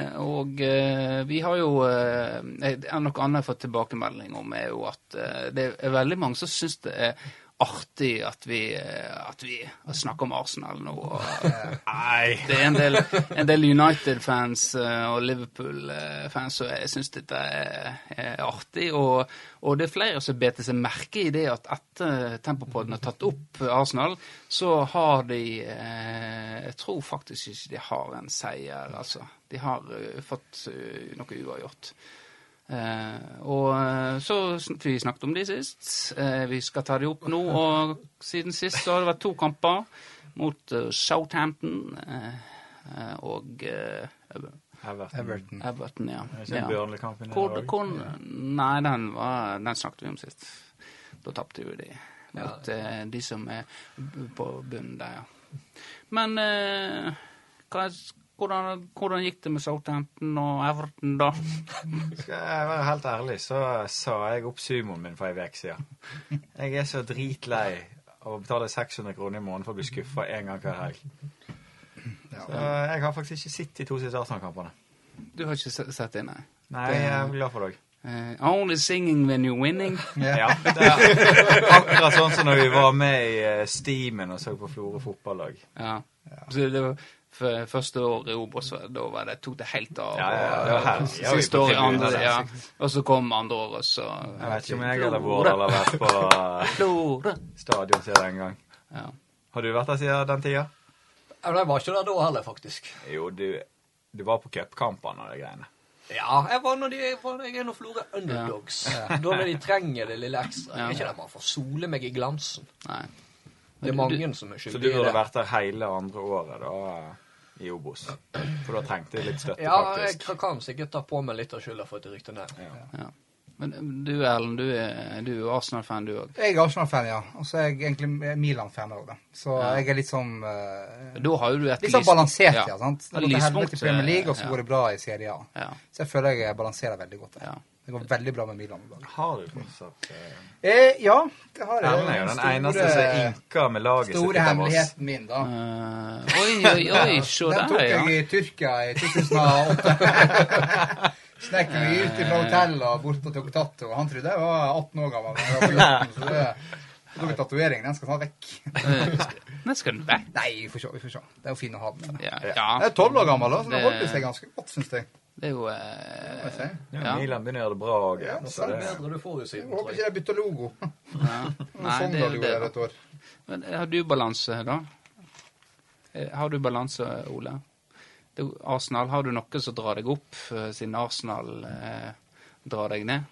[SPEAKER 1] eh, og eh, vi har jo eh, det er Noe annet jeg har fått tilbakemelding om, er jo at eh, det er veldig mange som syns det er artig at vi, eh, at vi snakker om Arsenal nå. Og,
[SPEAKER 2] Nei.
[SPEAKER 1] det er en del, en del United-fans eh, og Liverpool-fans som jeg syns dette er, er artig. Og, og det er flere som beter seg merke i det at etter Tempopodden har tatt opp Arsenal, så har de eh, Jeg tror faktisk ikke de har en seier, altså. De har eh, fått eh, noe uavgjort. Eh, og eh, så sn- Vi snakket om de sist. Eh, vi skal ta de opp nå. Og siden sist så har det vært to kamper mot eh, Southampton eh, eh, og eh,
[SPEAKER 2] Everton.
[SPEAKER 3] Everton.
[SPEAKER 1] Everton. Ja.
[SPEAKER 2] Er ikke
[SPEAKER 1] ja.
[SPEAKER 2] Burnley-kampen i
[SPEAKER 1] Hvor,
[SPEAKER 2] dag?
[SPEAKER 1] hvor, nei, den, var, den snakket vi om sist. Da tapte jo de mot eh, de som er b- på bunnen der, ja. Men eh, hva, hvordan, hvordan gikk det med Southampton og Everton, da?
[SPEAKER 2] Skal jeg være helt ærlig, så sa jeg opp sumoen min for ei uke siden. Jeg er så dritlei av å betale 600 kroner i måneden for å bli skuffa én gang hver helg. Så eh, jeg har faktisk ikke sett de to siste Arsenal-kampene.
[SPEAKER 1] Du har ikke se- sett det, nei?
[SPEAKER 2] Nei, jeg er glad for deg.
[SPEAKER 1] Eh, only singing when you're winning.
[SPEAKER 2] Ja, det er akkurat sånn som når vi var med i eh, Steamen og så på Florø fotballag.
[SPEAKER 1] Ja. Så det var f- første året i Obos, var- da var det, tok det helt av.
[SPEAKER 2] Ja, ja,
[SPEAKER 1] og-
[SPEAKER 2] det var her.
[SPEAKER 1] og
[SPEAKER 2] Ja, vi
[SPEAKER 1] Siste
[SPEAKER 2] på
[SPEAKER 1] året
[SPEAKER 2] tribunen,
[SPEAKER 1] andre,
[SPEAKER 2] ja.
[SPEAKER 1] ja. Og så kom andre året, så
[SPEAKER 2] Jeg vet ikke om jeg eller Vårdal har vært på eh,
[SPEAKER 1] Florø.
[SPEAKER 2] stadion siden den gang.
[SPEAKER 1] Ja.
[SPEAKER 2] Har du vært der siden den tida?
[SPEAKER 4] Ja, men jeg var ikke der da heller, faktisk.
[SPEAKER 2] Jo, du, du var på cupkampene og de greiene.
[SPEAKER 4] Ja, jeg var når de jeg var, jeg er når Florø underdogs. Da når de trenger det lille ekstra.
[SPEAKER 1] Ja.
[SPEAKER 4] Er ikke det man får sole meg i glansen?
[SPEAKER 1] Nei.
[SPEAKER 4] Det er mange som er
[SPEAKER 2] Så du
[SPEAKER 4] skyldige i
[SPEAKER 2] burde
[SPEAKER 4] det.
[SPEAKER 2] vært der hele andre året da, i Obos. For da trengte jeg litt støtte,
[SPEAKER 4] Ja, jeg
[SPEAKER 2] faktisk.
[SPEAKER 4] kan sikkert ta på meg litt av skylda for at det rykte ned.
[SPEAKER 1] Ja. Men du Erlend, du er, du er jo Arsenal-fan, du òg.
[SPEAKER 3] Jeg er Arsenal-fan, ja. Og så er jeg egentlig Milan-fan òg, da. Så
[SPEAKER 1] Ja.
[SPEAKER 3] jeg er litt sånn eh,
[SPEAKER 1] Da har jo du et
[SPEAKER 3] Litt sånn
[SPEAKER 1] lys-
[SPEAKER 3] balansert, ja. sant?
[SPEAKER 1] Ja,
[SPEAKER 3] Det går til
[SPEAKER 1] lyspunkt, eh,
[SPEAKER 3] helvete i Premier League, og
[SPEAKER 1] ja.
[SPEAKER 3] så går det bra i Serie A.
[SPEAKER 1] Ja.
[SPEAKER 3] Så jeg føler jeg balanserer veldig godt.
[SPEAKER 1] Ja.
[SPEAKER 3] der. Det går veldig bra med Milan. i dag.
[SPEAKER 2] Har du fortsatt eh,
[SPEAKER 3] Eh, ja, det har jeg.
[SPEAKER 2] Erlend er jo den
[SPEAKER 3] Store-
[SPEAKER 2] eneste som inker med laget sitt
[SPEAKER 3] Store
[SPEAKER 2] ut av oss.
[SPEAKER 3] hemmeligheten min, da.
[SPEAKER 1] Eh, oi, oi, oi, se
[SPEAKER 3] Den tok
[SPEAKER 1] der, ja.
[SPEAKER 3] jeg i Tyrkia i 2008. Snek meg ut fra hotellet og bort på Tokotato. Han trodde jeg var 18 år gammel. men jeg var 14, så det jeg tok en tatovering. Den skal ta vekk.
[SPEAKER 1] Den Eh, skal du vekk.
[SPEAKER 3] Nei, vi får se. Vi får se. Det er jo fin å ha den.
[SPEAKER 1] Ja,
[SPEAKER 3] Jeg
[SPEAKER 1] ja.
[SPEAKER 3] er 12 år gammel, altså. da,
[SPEAKER 1] Det-
[SPEAKER 3] så den holder seg ganske godt, syns jeg.
[SPEAKER 1] Det er jo
[SPEAKER 3] Må jeg
[SPEAKER 1] eh,
[SPEAKER 3] si.
[SPEAKER 2] Ja,
[SPEAKER 1] Ja.
[SPEAKER 2] Milan begynner å gjøre det bra òg.
[SPEAKER 3] Ja,
[SPEAKER 2] så
[SPEAKER 4] Det
[SPEAKER 2] det
[SPEAKER 4] er Sånn bedre du får jo
[SPEAKER 3] Jeg
[SPEAKER 4] siden,
[SPEAKER 3] Håper
[SPEAKER 4] tror
[SPEAKER 3] ikke
[SPEAKER 4] jeg.
[SPEAKER 3] jeg bytter logo.
[SPEAKER 1] ja. Nei, det
[SPEAKER 3] Sånn da
[SPEAKER 1] er jo
[SPEAKER 3] gjorde jeg
[SPEAKER 1] det.
[SPEAKER 3] et år.
[SPEAKER 1] Men eh, har du balanse, da? Eh, Har du balanse, Ole? Det, er jo Arsenal, har du noe som drar deg opp, eh, siden Arsenal eh, drar deg ned?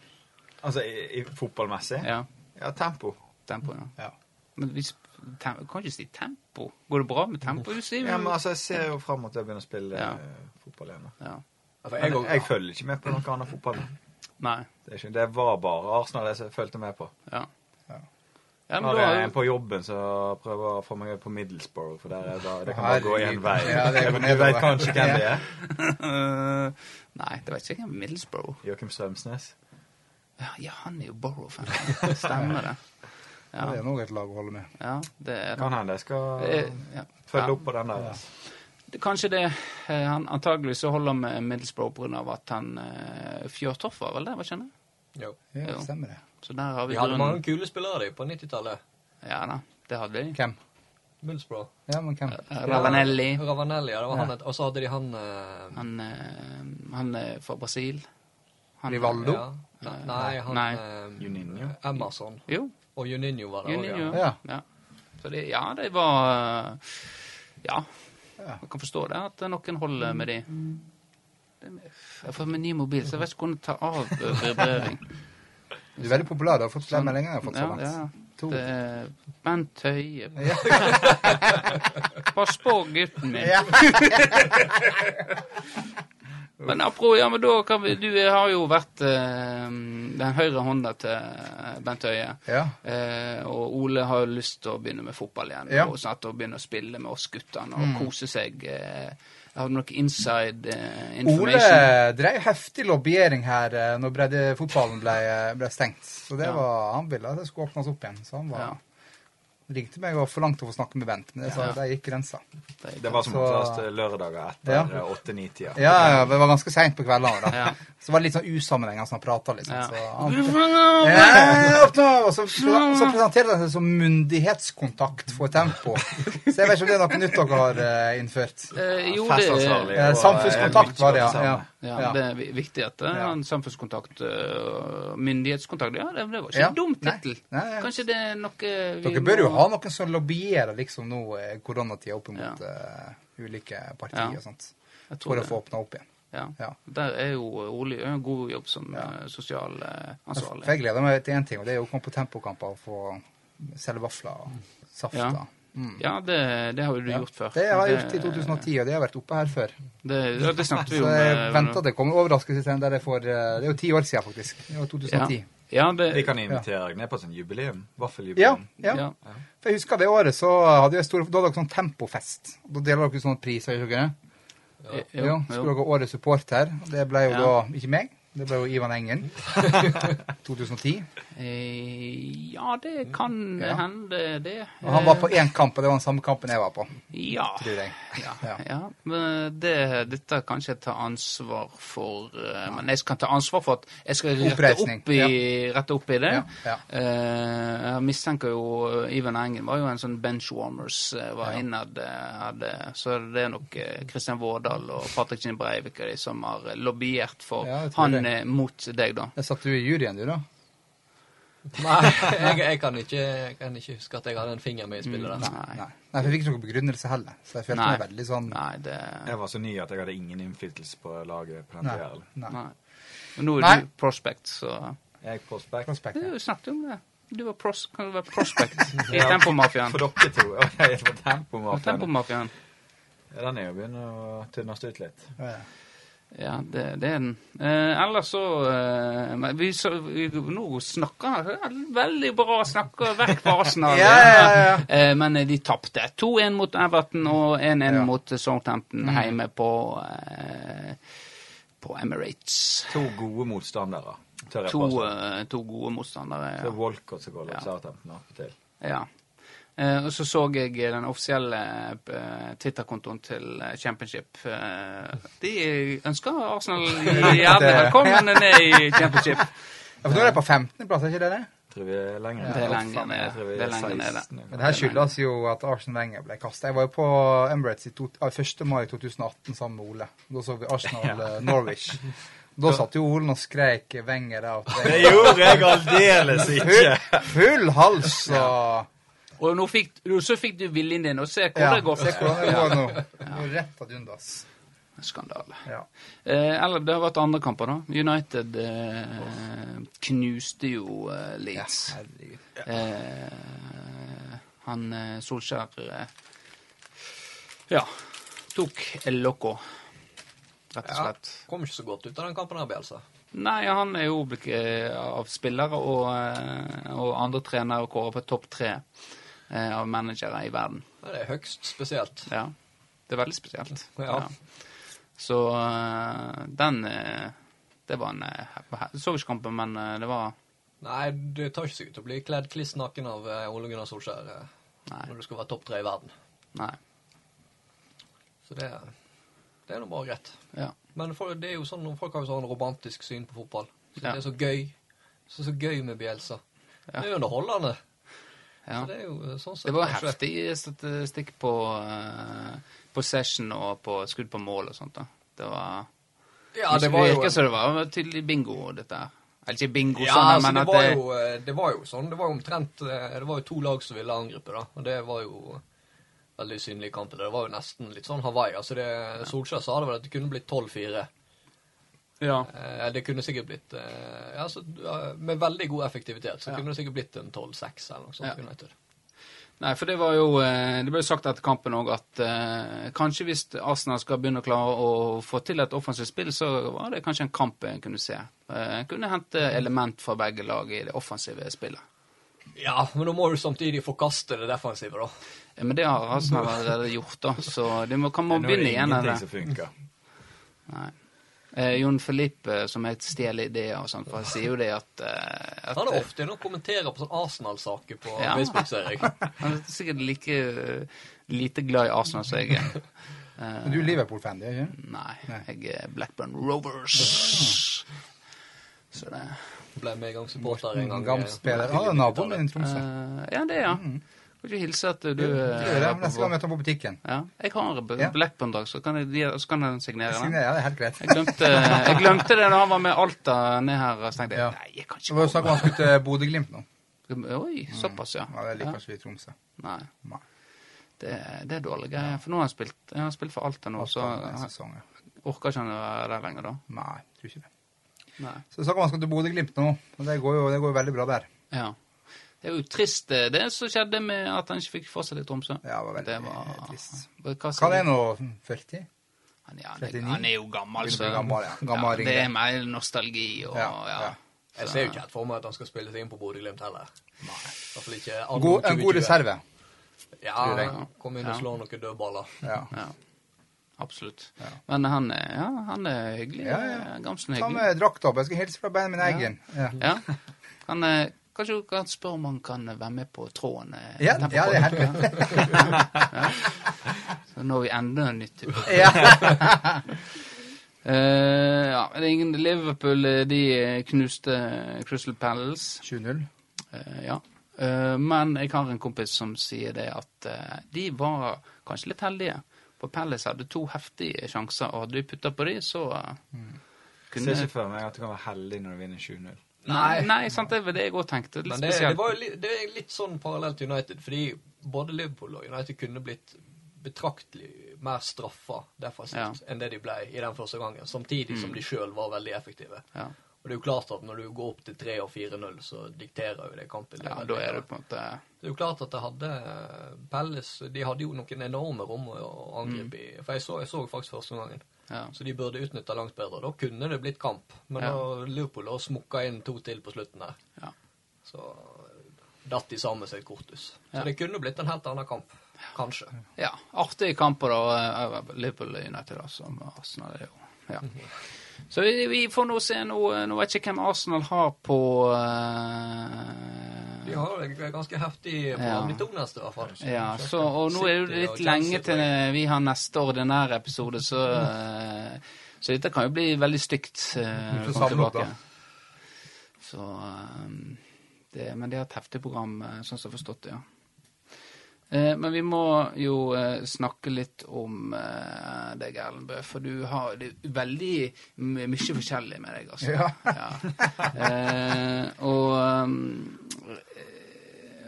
[SPEAKER 2] Altså i, i fotballmessig? Ja.
[SPEAKER 1] Ja,
[SPEAKER 2] tempo.
[SPEAKER 1] tempo, ja.
[SPEAKER 3] Ja.
[SPEAKER 1] Men hvis, tem, kan ikke si tempo. Går det bra med tempo? Du sier
[SPEAKER 2] Ja,
[SPEAKER 1] jo
[SPEAKER 2] men altså, Jeg ser jo fram mot å begynne å spille
[SPEAKER 1] Ja.
[SPEAKER 2] eh, fotball igjen. da.
[SPEAKER 1] ja.
[SPEAKER 4] For
[SPEAKER 2] Men
[SPEAKER 4] jeg
[SPEAKER 2] jeg,
[SPEAKER 4] og-
[SPEAKER 2] følger ikke med på noe annet fotball. da.
[SPEAKER 1] Nei.
[SPEAKER 2] Det, er ikke, det var bare Arsenal jeg fulgte med på.
[SPEAKER 1] Ja.
[SPEAKER 3] Ja.
[SPEAKER 1] Ja, men
[SPEAKER 2] Nå
[SPEAKER 1] da
[SPEAKER 2] er
[SPEAKER 1] har
[SPEAKER 2] det
[SPEAKER 1] jo-
[SPEAKER 2] en på jobben som prøver å få meg på Middlesbrough, for der er bare, det kan bare
[SPEAKER 3] Herregud.
[SPEAKER 2] gå én vei.
[SPEAKER 3] Ja, det går
[SPEAKER 2] du
[SPEAKER 3] nedover.
[SPEAKER 2] vet kanskje hvem det er?
[SPEAKER 1] Eh, Nei, det vet ikke jeg. Middlesbrough.
[SPEAKER 2] Joakim Strømsnes.
[SPEAKER 1] Ja, ja, han er jo Borough-fan. Stemmer det.
[SPEAKER 3] Ja, Det
[SPEAKER 1] Ja,
[SPEAKER 3] er noe et lag å holde med.
[SPEAKER 1] ja, det er det.
[SPEAKER 2] Kan hende jeg skal
[SPEAKER 1] Eh, ja. Ja.
[SPEAKER 2] følge opp på den der.
[SPEAKER 1] Det- Kanskje det eh, han Antagelig så holder han med Middlesbrough pga. at han eh, Fjørtoft var vel det, hva skjønner jeg?
[SPEAKER 3] Ja,
[SPEAKER 1] Jo.
[SPEAKER 3] stemmer det.
[SPEAKER 1] Så der har vi
[SPEAKER 4] Vi hadde mange
[SPEAKER 1] grunnen.
[SPEAKER 4] kule spillere de, på 90-tallet.
[SPEAKER 1] Ja da, det hadde vi.
[SPEAKER 3] Hvem?
[SPEAKER 4] Millsbro.
[SPEAKER 3] Ja, men hvem?
[SPEAKER 1] Ravanelli.
[SPEAKER 4] Ravanelli, ja, det var han. et- Og så hadde de han eh,
[SPEAKER 1] Han, eh, han er fra Brasil. Han-
[SPEAKER 3] Rivaldo?
[SPEAKER 4] ja. Ne- Nei, han
[SPEAKER 1] Nei.
[SPEAKER 4] eh,
[SPEAKER 2] Juninho.
[SPEAKER 4] Emerson.
[SPEAKER 1] Jo,
[SPEAKER 4] Og Juninho var der òg,
[SPEAKER 1] Juninho.
[SPEAKER 4] ja.
[SPEAKER 1] Ja. Så det, ja, det var eh, Ja.
[SPEAKER 3] Ja.
[SPEAKER 1] Jeg kan forstå det, at noen holder med de. Det er- Jeg får med ny mobil, så jeg vet ikke hvordan jeg tar av eh, vibrering.
[SPEAKER 3] Du er veldig populær. Du har fått flere meldinger enn jeg har fått så
[SPEAKER 1] Ja, ja.
[SPEAKER 3] langt. To.
[SPEAKER 1] Det er Bent Høie. Pass på gutten min.
[SPEAKER 3] Ja.
[SPEAKER 1] Men apropos, ja, men da kan vi Du har jo vært eh, den høyre hånda til Bent Høie.
[SPEAKER 3] Ja.
[SPEAKER 1] Eh, og Ole har jo lyst til å begynne med fotball igjen,
[SPEAKER 3] Ja. Mm.
[SPEAKER 1] og snart å begynne å spille med oss guttene og kose seg. Eh, har du noe inside eh,
[SPEAKER 3] Ole
[SPEAKER 1] information?
[SPEAKER 3] drev heftig lobbyering her eh, når breddefotballen ble, eh, ble stengt. Så det
[SPEAKER 1] Ja.
[SPEAKER 3] var, han ville at det skulle åpnes opp igjen. Så han var,
[SPEAKER 1] Ja.
[SPEAKER 3] ringte meg og forlangte å få snakke med Bent, men jeg sa
[SPEAKER 1] Ja.
[SPEAKER 3] at jeg gikk grensa.
[SPEAKER 2] Det var som
[SPEAKER 3] Så-
[SPEAKER 2] oftest lørdager etter
[SPEAKER 3] Ja.
[SPEAKER 2] eh, 8-9-tida.
[SPEAKER 3] Ja, ja, det var ganske seint på kveldene. da.
[SPEAKER 1] Ja.
[SPEAKER 3] Så var det litt sånn usammenhengende som han prata, liksom.
[SPEAKER 1] Ja.
[SPEAKER 3] Så han, Ja, opp nå! Og så, så presenterer den seg som myndighetskontakt for tempo. Så jeg vet ikke om det er noe nytt dere har eh, innført.
[SPEAKER 1] Eh, jo,
[SPEAKER 2] Festansvarlig
[SPEAKER 1] det,
[SPEAKER 3] Eh,
[SPEAKER 2] og, eh,
[SPEAKER 3] samfunnskontakt var det, ja.
[SPEAKER 2] mye
[SPEAKER 3] ja.
[SPEAKER 1] ja, det er vi- viktig at det er en samfunnskontakt eh, og myndighetskontakt. Ja, det, det var ikke
[SPEAKER 3] Ja.
[SPEAKER 1] en dum
[SPEAKER 3] Nei.
[SPEAKER 1] tittel.
[SPEAKER 3] Nei, ja.
[SPEAKER 1] Kanskje det er noe vi
[SPEAKER 3] Dere bør jo
[SPEAKER 1] må-
[SPEAKER 3] ha noen som lobbyerer liksom nå eh, koronatida opp mot eh, ulike partier
[SPEAKER 1] Ja.
[SPEAKER 3] og sånt.
[SPEAKER 1] Jeg tror
[SPEAKER 3] For å
[SPEAKER 1] det.
[SPEAKER 3] få åpna opp igjen.
[SPEAKER 1] Ja.
[SPEAKER 3] Ja.
[SPEAKER 1] Der er jo Ole gjør en god jobb som
[SPEAKER 3] Ja.
[SPEAKER 1] eh, sosial eh,
[SPEAKER 3] For
[SPEAKER 1] ansvarlig.
[SPEAKER 3] jeg gleder meg til én ting, og det er jo å komme på tempokamper og få selge vafler og saft.
[SPEAKER 1] Ja.
[SPEAKER 3] da. Mm.
[SPEAKER 1] Ja, det, det har jo du
[SPEAKER 3] Ja.
[SPEAKER 1] gjort før.
[SPEAKER 3] Det har jeg gjort i 2010, og det har vært oppe her før.
[SPEAKER 1] Det, ja, det snakket
[SPEAKER 3] Så
[SPEAKER 1] vi om.
[SPEAKER 3] jeg
[SPEAKER 1] eh,
[SPEAKER 3] venter at det kommer overraskelse igjen der jeg får eh, Det er jo ti år siden, faktisk. Det var 2010.
[SPEAKER 1] Ja, det,
[SPEAKER 2] Vi kan invitere deg ned på et sånt jubileum.
[SPEAKER 3] Ja,
[SPEAKER 2] Vaffeljubileum.
[SPEAKER 3] ja.
[SPEAKER 1] ja.
[SPEAKER 3] For jeg husker det året så hadde jeg stor, da hadde dere sånn tempofest. Da deler dere ut sånne priser, gjør dere ikke det?
[SPEAKER 1] Eh,
[SPEAKER 3] Ja,
[SPEAKER 1] jo,
[SPEAKER 3] så
[SPEAKER 1] jo.
[SPEAKER 3] skulle dere årets supporter. Det ble jo
[SPEAKER 1] Ja.
[SPEAKER 3] da ikke meg, det ble jo Ivan Engen. 2010.
[SPEAKER 1] Eh, ja, det kan
[SPEAKER 3] Ja.
[SPEAKER 1] hende, det. Eh,
[SPEAKER 3] Og han var på én kamp, og det var den samme kampen jeg var på,
[SPEAKER 1] Ja.
[SPEAKER 3] tror jeg.
[SPEAKER 1] Ah.
[SPEAKER 3] Ja.
[SPEAKER 1] Ja. men eh, det, dette kan ikke jeg ta ansvar for, eh, men jeg skal ta ansvar for at jeg skal rette
[SPEAKER 3] Oppreisning,
[SPEAKER 1] opp i, rette opp i det.
[SPEAKER 3] Ja, ja.
[SPEAKER 1] Eh, jeg mistenker jo eh, Ivan Engen var jo en sånn benchwarmers eh, var innad eh, hadde, så det er nok eh, Kristian Vårdal og Patrick Kinn Breivik og de som har eh, lobbyert for
[SPEAKER 3] Ja, jeg tror
[SPEAKER 1] han
[SPEAKER 3] det.
[SPEAKER 1] eh, mot deg, da.
[SPEAKER 3] Der satt du i juryen, du, da?
[SPEAKER 4] Nei, jeg, jeg, kan ikke, jeg kan ikke huske at jeg hadde en finger med i spillet der.
[SPEAKER 1] Mm, Nei.
[SPEAKER 3] Nei, Nei, for jeg fikk ikke noen begrunnelse heller, så jeg følte
[SPEAKER 1] Nei.
[SPEAKER 3] meg veldig sånn
[SPEAKER 1] Nei, det
[SPEAKER 2] Jeg var så ny at jeg hadde ingen innflytelse på laget på den
[SPEAKER 3] Nei.
[SPEAKER 2] tida. eller?
[SPEAKER 3] Nei.
[SPEAKER 1] Nei. Men nå er
[SPEAKER 3] Nei.
[SPEAKER 1] du prospect, så
[SPEAKER 2] Jeg gikk prospect.
[SPEAKER 3] Prospect,
[SPEAKER 1] Du
[SPEAKER 3] ja.
[SPEAKER 1] snakket jo om det. Du var pros, kan du være prospect i Tempomafiaen.
[SPEAKER 2] For dere to. Ok, jeg var
[SPEAKER 1] Og
[SPEAKER 2] tempomafiaen.
[SPEAKER 1] Tempomafiaen.
[SPEAKER 2] Ja, Den er jo begynner å tynnes ut litt.
[SPEAKER 3] Ja, ja.
[SPEAKER 1] Ja, det, det er den. Eh, ellers så, eh, men vi, så vi, Nå snakker han veldig bra. Snakker vekk fra Arsenal.
[SPEAKER 3] Ja, ja, ja,
[SPEAKER 1] Eh, men de tapte. 2-1 mot Everton og 1-1
[SPEAKER 3] Ja. Mm.
[SPEAKER 1] mot Southampton hjemme på eh, på Emirates.
[SPEAKER 2] To gode motstandere, tør jeg
[SPEAKER 1] To,
[SPEAKER 2] påstå.
[SPEAKER 1] eh, to gode motstandere.
[SPEAKER 2] Det
[SPEAKER 1] ja.
[SPEAKER 2] er Walcott som går
[SPEAKER 1] Ja.
[SPEAKER 2] opp Southampton opp til.
[SPEAKER 1] Ja. Eh, og så så jeg den offisielle eh, Twitter-kontoen til eh, Championship. Eh, de ønsker Arsenal gjerne
[SPEAKER 3] Det-
[SPEAKER 1] velkommen ned i Championship.
[SPEAKER 3] Ja, for nå er jeg på 15.-plass, er ikke det det?
[SPEAKER 2] Tror vi er lenger
[SPEAKER 1] Det er
[SPEAKER 2] Ja,
[SPEAKER 1] lenger
[SPEAKER 2] faen, jeg
[SPEAKER 1] ned.
[SPEAKER 2] tror vi
[SPEAKER 1] Det er lenger ned,
[SPEAKER 2] 16
[SPEAKER 1] det.
[SPEAKER 3] Men
[SPEAKER 2] eller
[SPEAKER 3] det her skyldes jo at Arsenal Wenger ble kasta. Jeg var jo på Emirates i to, ah, 1. mai 2018 sammen med Ole. Da så vi Arsenal-Norwich. Da satt jo Olen og skreik 'Wenger out'.
[SPEAKER 2] Det
[SPEAKER 3] Wenger.
[SPEAKER 2] gjorde jeg aldeles ikke!
[SPEAKER 3] Full, full hals og
[SPEAKER 1] Og nå fikk, nå så fikk du viljen din, og se hvor
[SPEAKER 3] Ja,
[SPEAKER 1] det går.
[SPEAKER 3] se hvordan det går nå. Det går Rett ad undas.
[SPEAKER 1] Skandale.
[SPEAKER 3] Ja.
[SPEAKER 1] Eh, eller det har vært andre kamper, da. United eh, knuste jo eh, Leeds. Eh, han eh, Solskjær eh, Ja. Tok El Loco, rett og
[SPEAKER 4] Ja.
[SPEAKER 1] slett.
[SPEAKER 4] Kom ikke så godt ut av den kampen her, Bjelsa.
[SPEAKER 1] Nei, han er jo blitt, eh, av spillere og, eh, og andre trenere kåra på topp tre eh, av managere i verden.
[SPEAKER 4] Men Det er høyst spesielt.
[SPEAKER 1] Ja. Det er veldig spesielt.
[SPEAKER 4] Ja.
[SPEAKER 1] Så eh, den eh, Det var en eh, Jeg så ikke kampen, men eh, det var
[SPEAKER 4] Nei, det tar ikke seg ut å bli kledd kliss naken av eh, Ole Gunnar Solskjær eh,
[SPEAKER 1] Nei.
[SPEAKER 4] når du skal være topp tre i verden.
[SPEAKER 1] nei
[SPEAKER 4] Så det, det er nå bare greit.
[SPEAKER 1] ja.
[SPEAKER 4] Men for, det er jo sånn, folk har jo sånn romantisk syn på fotball. Så
[SPEAKER 1] Ja.
[SPEAKER 4] Det er så gøy. Så, så gøy med Bjelsa. Det er jo underholdende.
[SPEAKER 1] ja.
[SPEAKER 4] Så det er jo sånn sett
[SPEAKER 1] Det var
[SPEAKER 4] kanskje-
[SPEAKER 1] heftig statistikk på eh, possession og på skudd på mål og sånt. da. Det var
[SPEAKER 4] Ja, det var jo
[SPEAKER 1] virker
[SPEAKER 4] en-
[SPEAKER 1] som det var tydelig bingo, dette her. Eller ikke bingo,
[SPEAKER 4] Ja,
[SPEAKER 1] sånn,
[SPEAKER 4] altså,
[SPEAKER 1] men
[SPEAKER 4] det
[SPEAKER 1] at
[SPEAKER 4] var,
[SPEAKER 1] det
[SPEAKER 4] jo, eh, det var jo sånn. Det var jo omtrent eh, Det var jo to lag som ville angripe, da. Og det var jo eh, veldig synlig i kampen. Det var jo nesten litt sånn Hawaii. Altså det, Solskjær sa det vel at det kunne blitt 12-4.
[SPEAKER 1] ja.
[SPEAKER 4] Eh, det kunne sikkert blitt eh, ja, så, eh, Med veldig god effektivitet så
[SPEAKER 1] Ja.
[SPEAKER 4] kunne det sikkert blitt en 12-6 eller noe sånt.
[SPEAKER 1] Ja.
[SPEAKER 4] United.
[SPEAKER 1] Nei, for det var jo eh, Det ble jo sagt etter kampen òg at eh, kanskje hvis Arsenal skal begynne å klare å få til et offensivt spill, så var det kanskje en kamp en kunne se. Eh, En kunne hente element fra begge lag i det offensive spillet.
[SPEAKER 4] Ja, men da må du samtidig forkaste det defensive, da.
[SPEAKER 1] Eh, Men det har Arsenal allerede gjort, da, så de må, kan må
[SPEAKER 2] Nå er
[SPEAKER 1] begynne
[SPEAKER 2] det
[SPEAKER 1] igjen.
[SPEAKER 2] ingenting
[SPEAKER 1] Eller?
[SPEAKER 2] som funker.
[SPEAKER 1] Nei. Eh, Jon Filippe, som jeg stjeler ideer og sånt, for han sier jo det at, eh, at
[SPEAKER 4] Han er ofte inne og kommenterer på sånn Arsenal-saker på
[SPEAKER 1] Ja.
[SPEAKER 4] Facebook, ser jeg.
[SPEAKER 1] eh, Han er sikkert like eh, lite glad i Arsenal som jeg er. Eh,
[SPEAKER 3] Men du er Liverpool-fan, det er ikke?
[SPEAKER 1] Nei,
[SPEAKER 3] Nei.
[SPEAKER 1] jeg er Blackburn Rovers. Så det
[SPEAKER 4] Ble med i gang supporter en gang.
[SPEAKER 3] Gamspiller. Ah, naboen min i Tromsø.
[SPEAKER 1] eh, Ja, det, ja. Kan ikke hilse at du
[SPEAKER 3] Du, du
[SPEAKER 1] eh,
[SPEAKER 3] gjør Mm. det
[SPEAKER 1] er på
[SPEAKER 3] neste gang jeg møter ham på butikken.
[SPEAKER 1] Ja, jeg har en
[SPEAKER 3] Ja.
[SPEAKER 1] Blackburn-drakt, så kan jeg, gi- så kan jeg signere den.
[SPEAKER 3] Signer, ja, det er helt greit.
[SPEAKER 1] Jeg glemte, eh, jeg glemte det da han var med Alta ned her. Så tenkte jeg
[SPEAKER 3] Ja.
[SPEAKER 1] nei, jeg kan
[SPEAKER 3] Det var jo
[SPEAKER 1] ikke
[SPEAKER 3] snakk om han skulle til Bodø-Glimt nå.
[SPEAKER 1] gå Oi, såpass, ja.
[SPEAKER 3] Ja, det liker ikke vi i Tromsø.
[SPEAKER 1] Nei.
[SPEAKER 3] Nei.
[SPEAKER 1] Det, det er dårlig greie. For nå har han spilt, han har spilt for Alta nå, så
[SPEAKER 3] Avstanden er sesongen.
[SPEAKER 1] orker ikke han å være der lenger da.
[SPEAKER 3] Nei, jeg tror ikke det.
[SPEAKER 1] Nei.
[SPEAKER 3] Så det er snakk om han skal til Bodø-Glimt nå, og det går jo det går jo veldig bra der.
[SPEAKER 1] Ja. Det er jo trist, eh, det som skjedde med at han ikke fikk fortsette i Tromsø.
[SPEAKER 3] Ja, det var veldig
[SPEAKER 1] Det var-
[SPEAKER 3] trist.
[SPEAKER 1] Hva, hva
[SPEAKER 3] Hva er
[SPEAKER 1] sier
[SPEAKER 3] det
[SPEAKER 1] du?
[SPEAKER 3] nå? 40?
[SPEAKER 1] Han, ja, han, er,
[SPEAKER 3] 39?
[SPEAKER 1] han er jo gammel,
[SPEAKER 3] Begynner å
[SPEAKER 1] så
[SPEAKER 3] bli gammel, ja. Gammel
[SPEAKER 1] ja, Det
[SPEAKER 3] ringrev.
[SPEAKER 1] er mer nostalgi og ja.
[SPEAKER 3] Ja,
[SPEAKER 1] ja.
[SPEAKER 3] ja.
[SPEAKER 4] Jeg ser jo ikke helt for meg at han skal spille seg inn på Bodø-Glimt heller. I hvert fall ikke anno
[SPEAKER 3] God, en
[SPEAKER 4] 2020.
[SPEAKER 3] god reserve. tror
[SPEAKER 4] Ja,
[SPEAKER 1] jeg.
[SPEAKER 4] kom inn og slå noen dødballer.
[SPEAKER 3] Ja.
[SPEAKER 1] Ja, absolutt. Men han er, ja, han er hyggelig. Eh,
[SPEAKER 3] Ja, ja.
[SPEAKER 1] Gamsen er
[SPEAKER 3] Ta
[SPEAKER 1] hyggelig.
[SPEAKER 3] med drakta opp. Jeg skal hilse fra Benjamin Eggen. Ja.
[SPEAKER 1] Ja. Han, eh, kanskje du kan spørre om han kan være med på tråden? eh,
[SPEAKER 3] Ja,
[SPEAKER 1] den på
[SPEAKER 3] ja, det er helt
[SPEAKER 1] podden? Ja. Så når vi ender en nytt tilbud.
[SPEAKER 3] Ja.
[SPEAKER 1] Eh, ja, det er ingen, Liverpool eh, de eh, knuste Crystal Palace.
[SPEAKER 3] 7-0.
[SPEAKER 1] Eh, ja. Eh, men jeg har en kompis som sier det at eh, de var kanskje litt heldige. For Palace hadde to heftige sjanser, og hadde de putta på de, så eh,
[SPEAKER 2] Ser
[SPEAKER 1] kunne
[SPEAKER 2] ikke for meg at du kan være heldig når du vinner 7-0.
[SPEAKER 1] Nei, nei, sant, det var det jeg òg tenkte. Litt
[SPEAKER 4] Men det, det,
[SPEAKER 1] spesielt.
[SPEAKER 4] var jo litt, det er litt sånn parallelt til United, fordi både Liverpool og United kunne blitt betraktelig mer straffa defensivt enn det de ble i den første gangen, samtidig
[SPEAKER 1] Mm.
[SPEAKER 4] som de sjøl var veldig effektive.
[SPEAKER 1] Ja.
[SPEAKER 4] Og det er jo klart at når du går opp til 3 og 4-0, så dikterer jo det kampen.
[SPEAKER 1] Ja,
[SPEAKER 4] veldig.
[SPEAKER 1] da er det på en måte
[SPEAKER 4] Det er jo klart at det hadde eh, Palace De hadde jo noen enorme rom å å
[SPEAKER 1] Mm.
[SPEAKER 4] angripe i. For jeg så, jeg så faktisk første gangen.
[SPEAKER 1] ja.
[SPEAKER 4] Så de burde utnytta langt bedre. Da kunne det blitt kamp. Men
[SPEAKER 1] Ja.
[SPEAKER 4] da Liverpool da smukka inn to til på slutten der.
[SPEAKER 1] Ja.
[SPEAKER 4] Så eh, datt de sammen seg et korthus. Så
[SPEAKER 1] Ja.
[SPEAKER 4] det kunne blitt en helt annen kamp. Kanskje.
[SPEAKER 1] ja. Artige kamper, da. eh, Liverpool og United, da, som Arsenal er jo. Ja. Så vi, vi får nå se nå eh, Nå vet jeg ikke hvem Arsenal har på eh,
[SPEAKER 4] De har jo et ganske heftig program, de to neste, i hvert fall.
[SPEAKER 1] Ja, så, og nå er det jo litt
[SPEAKER 4] City og
[SPEAKER 1] lenge
[SPEAKER 4] Chelsea,
[SPEAKER 1] til
[SPEAKER 4] tror jeg.
[SPEAKER 1] eh, vi har neste ordinære episode, så eh, Så dette kan jo bli veldig stygt eh,
[SPEAKER 3] Vi får
[SPEAKER 1] å komme
[SPEAKER 3] samle opp,
[SPEAKER 1] tilbake.
[SPEAKER 3] da.
[SPEAKER 1] Så eh, det, Men de har et heftig program, eh, sånn som jeg har forstått det, ja. Eh, Men vi må jo eh, snakke litt om eh, deg, Erlend Bø. For du har det er veldig m- mye forskjellig med deg, altså.
[SPEAKER 3] Ja.
[SPEAKER 1] Ja. Eh, og um,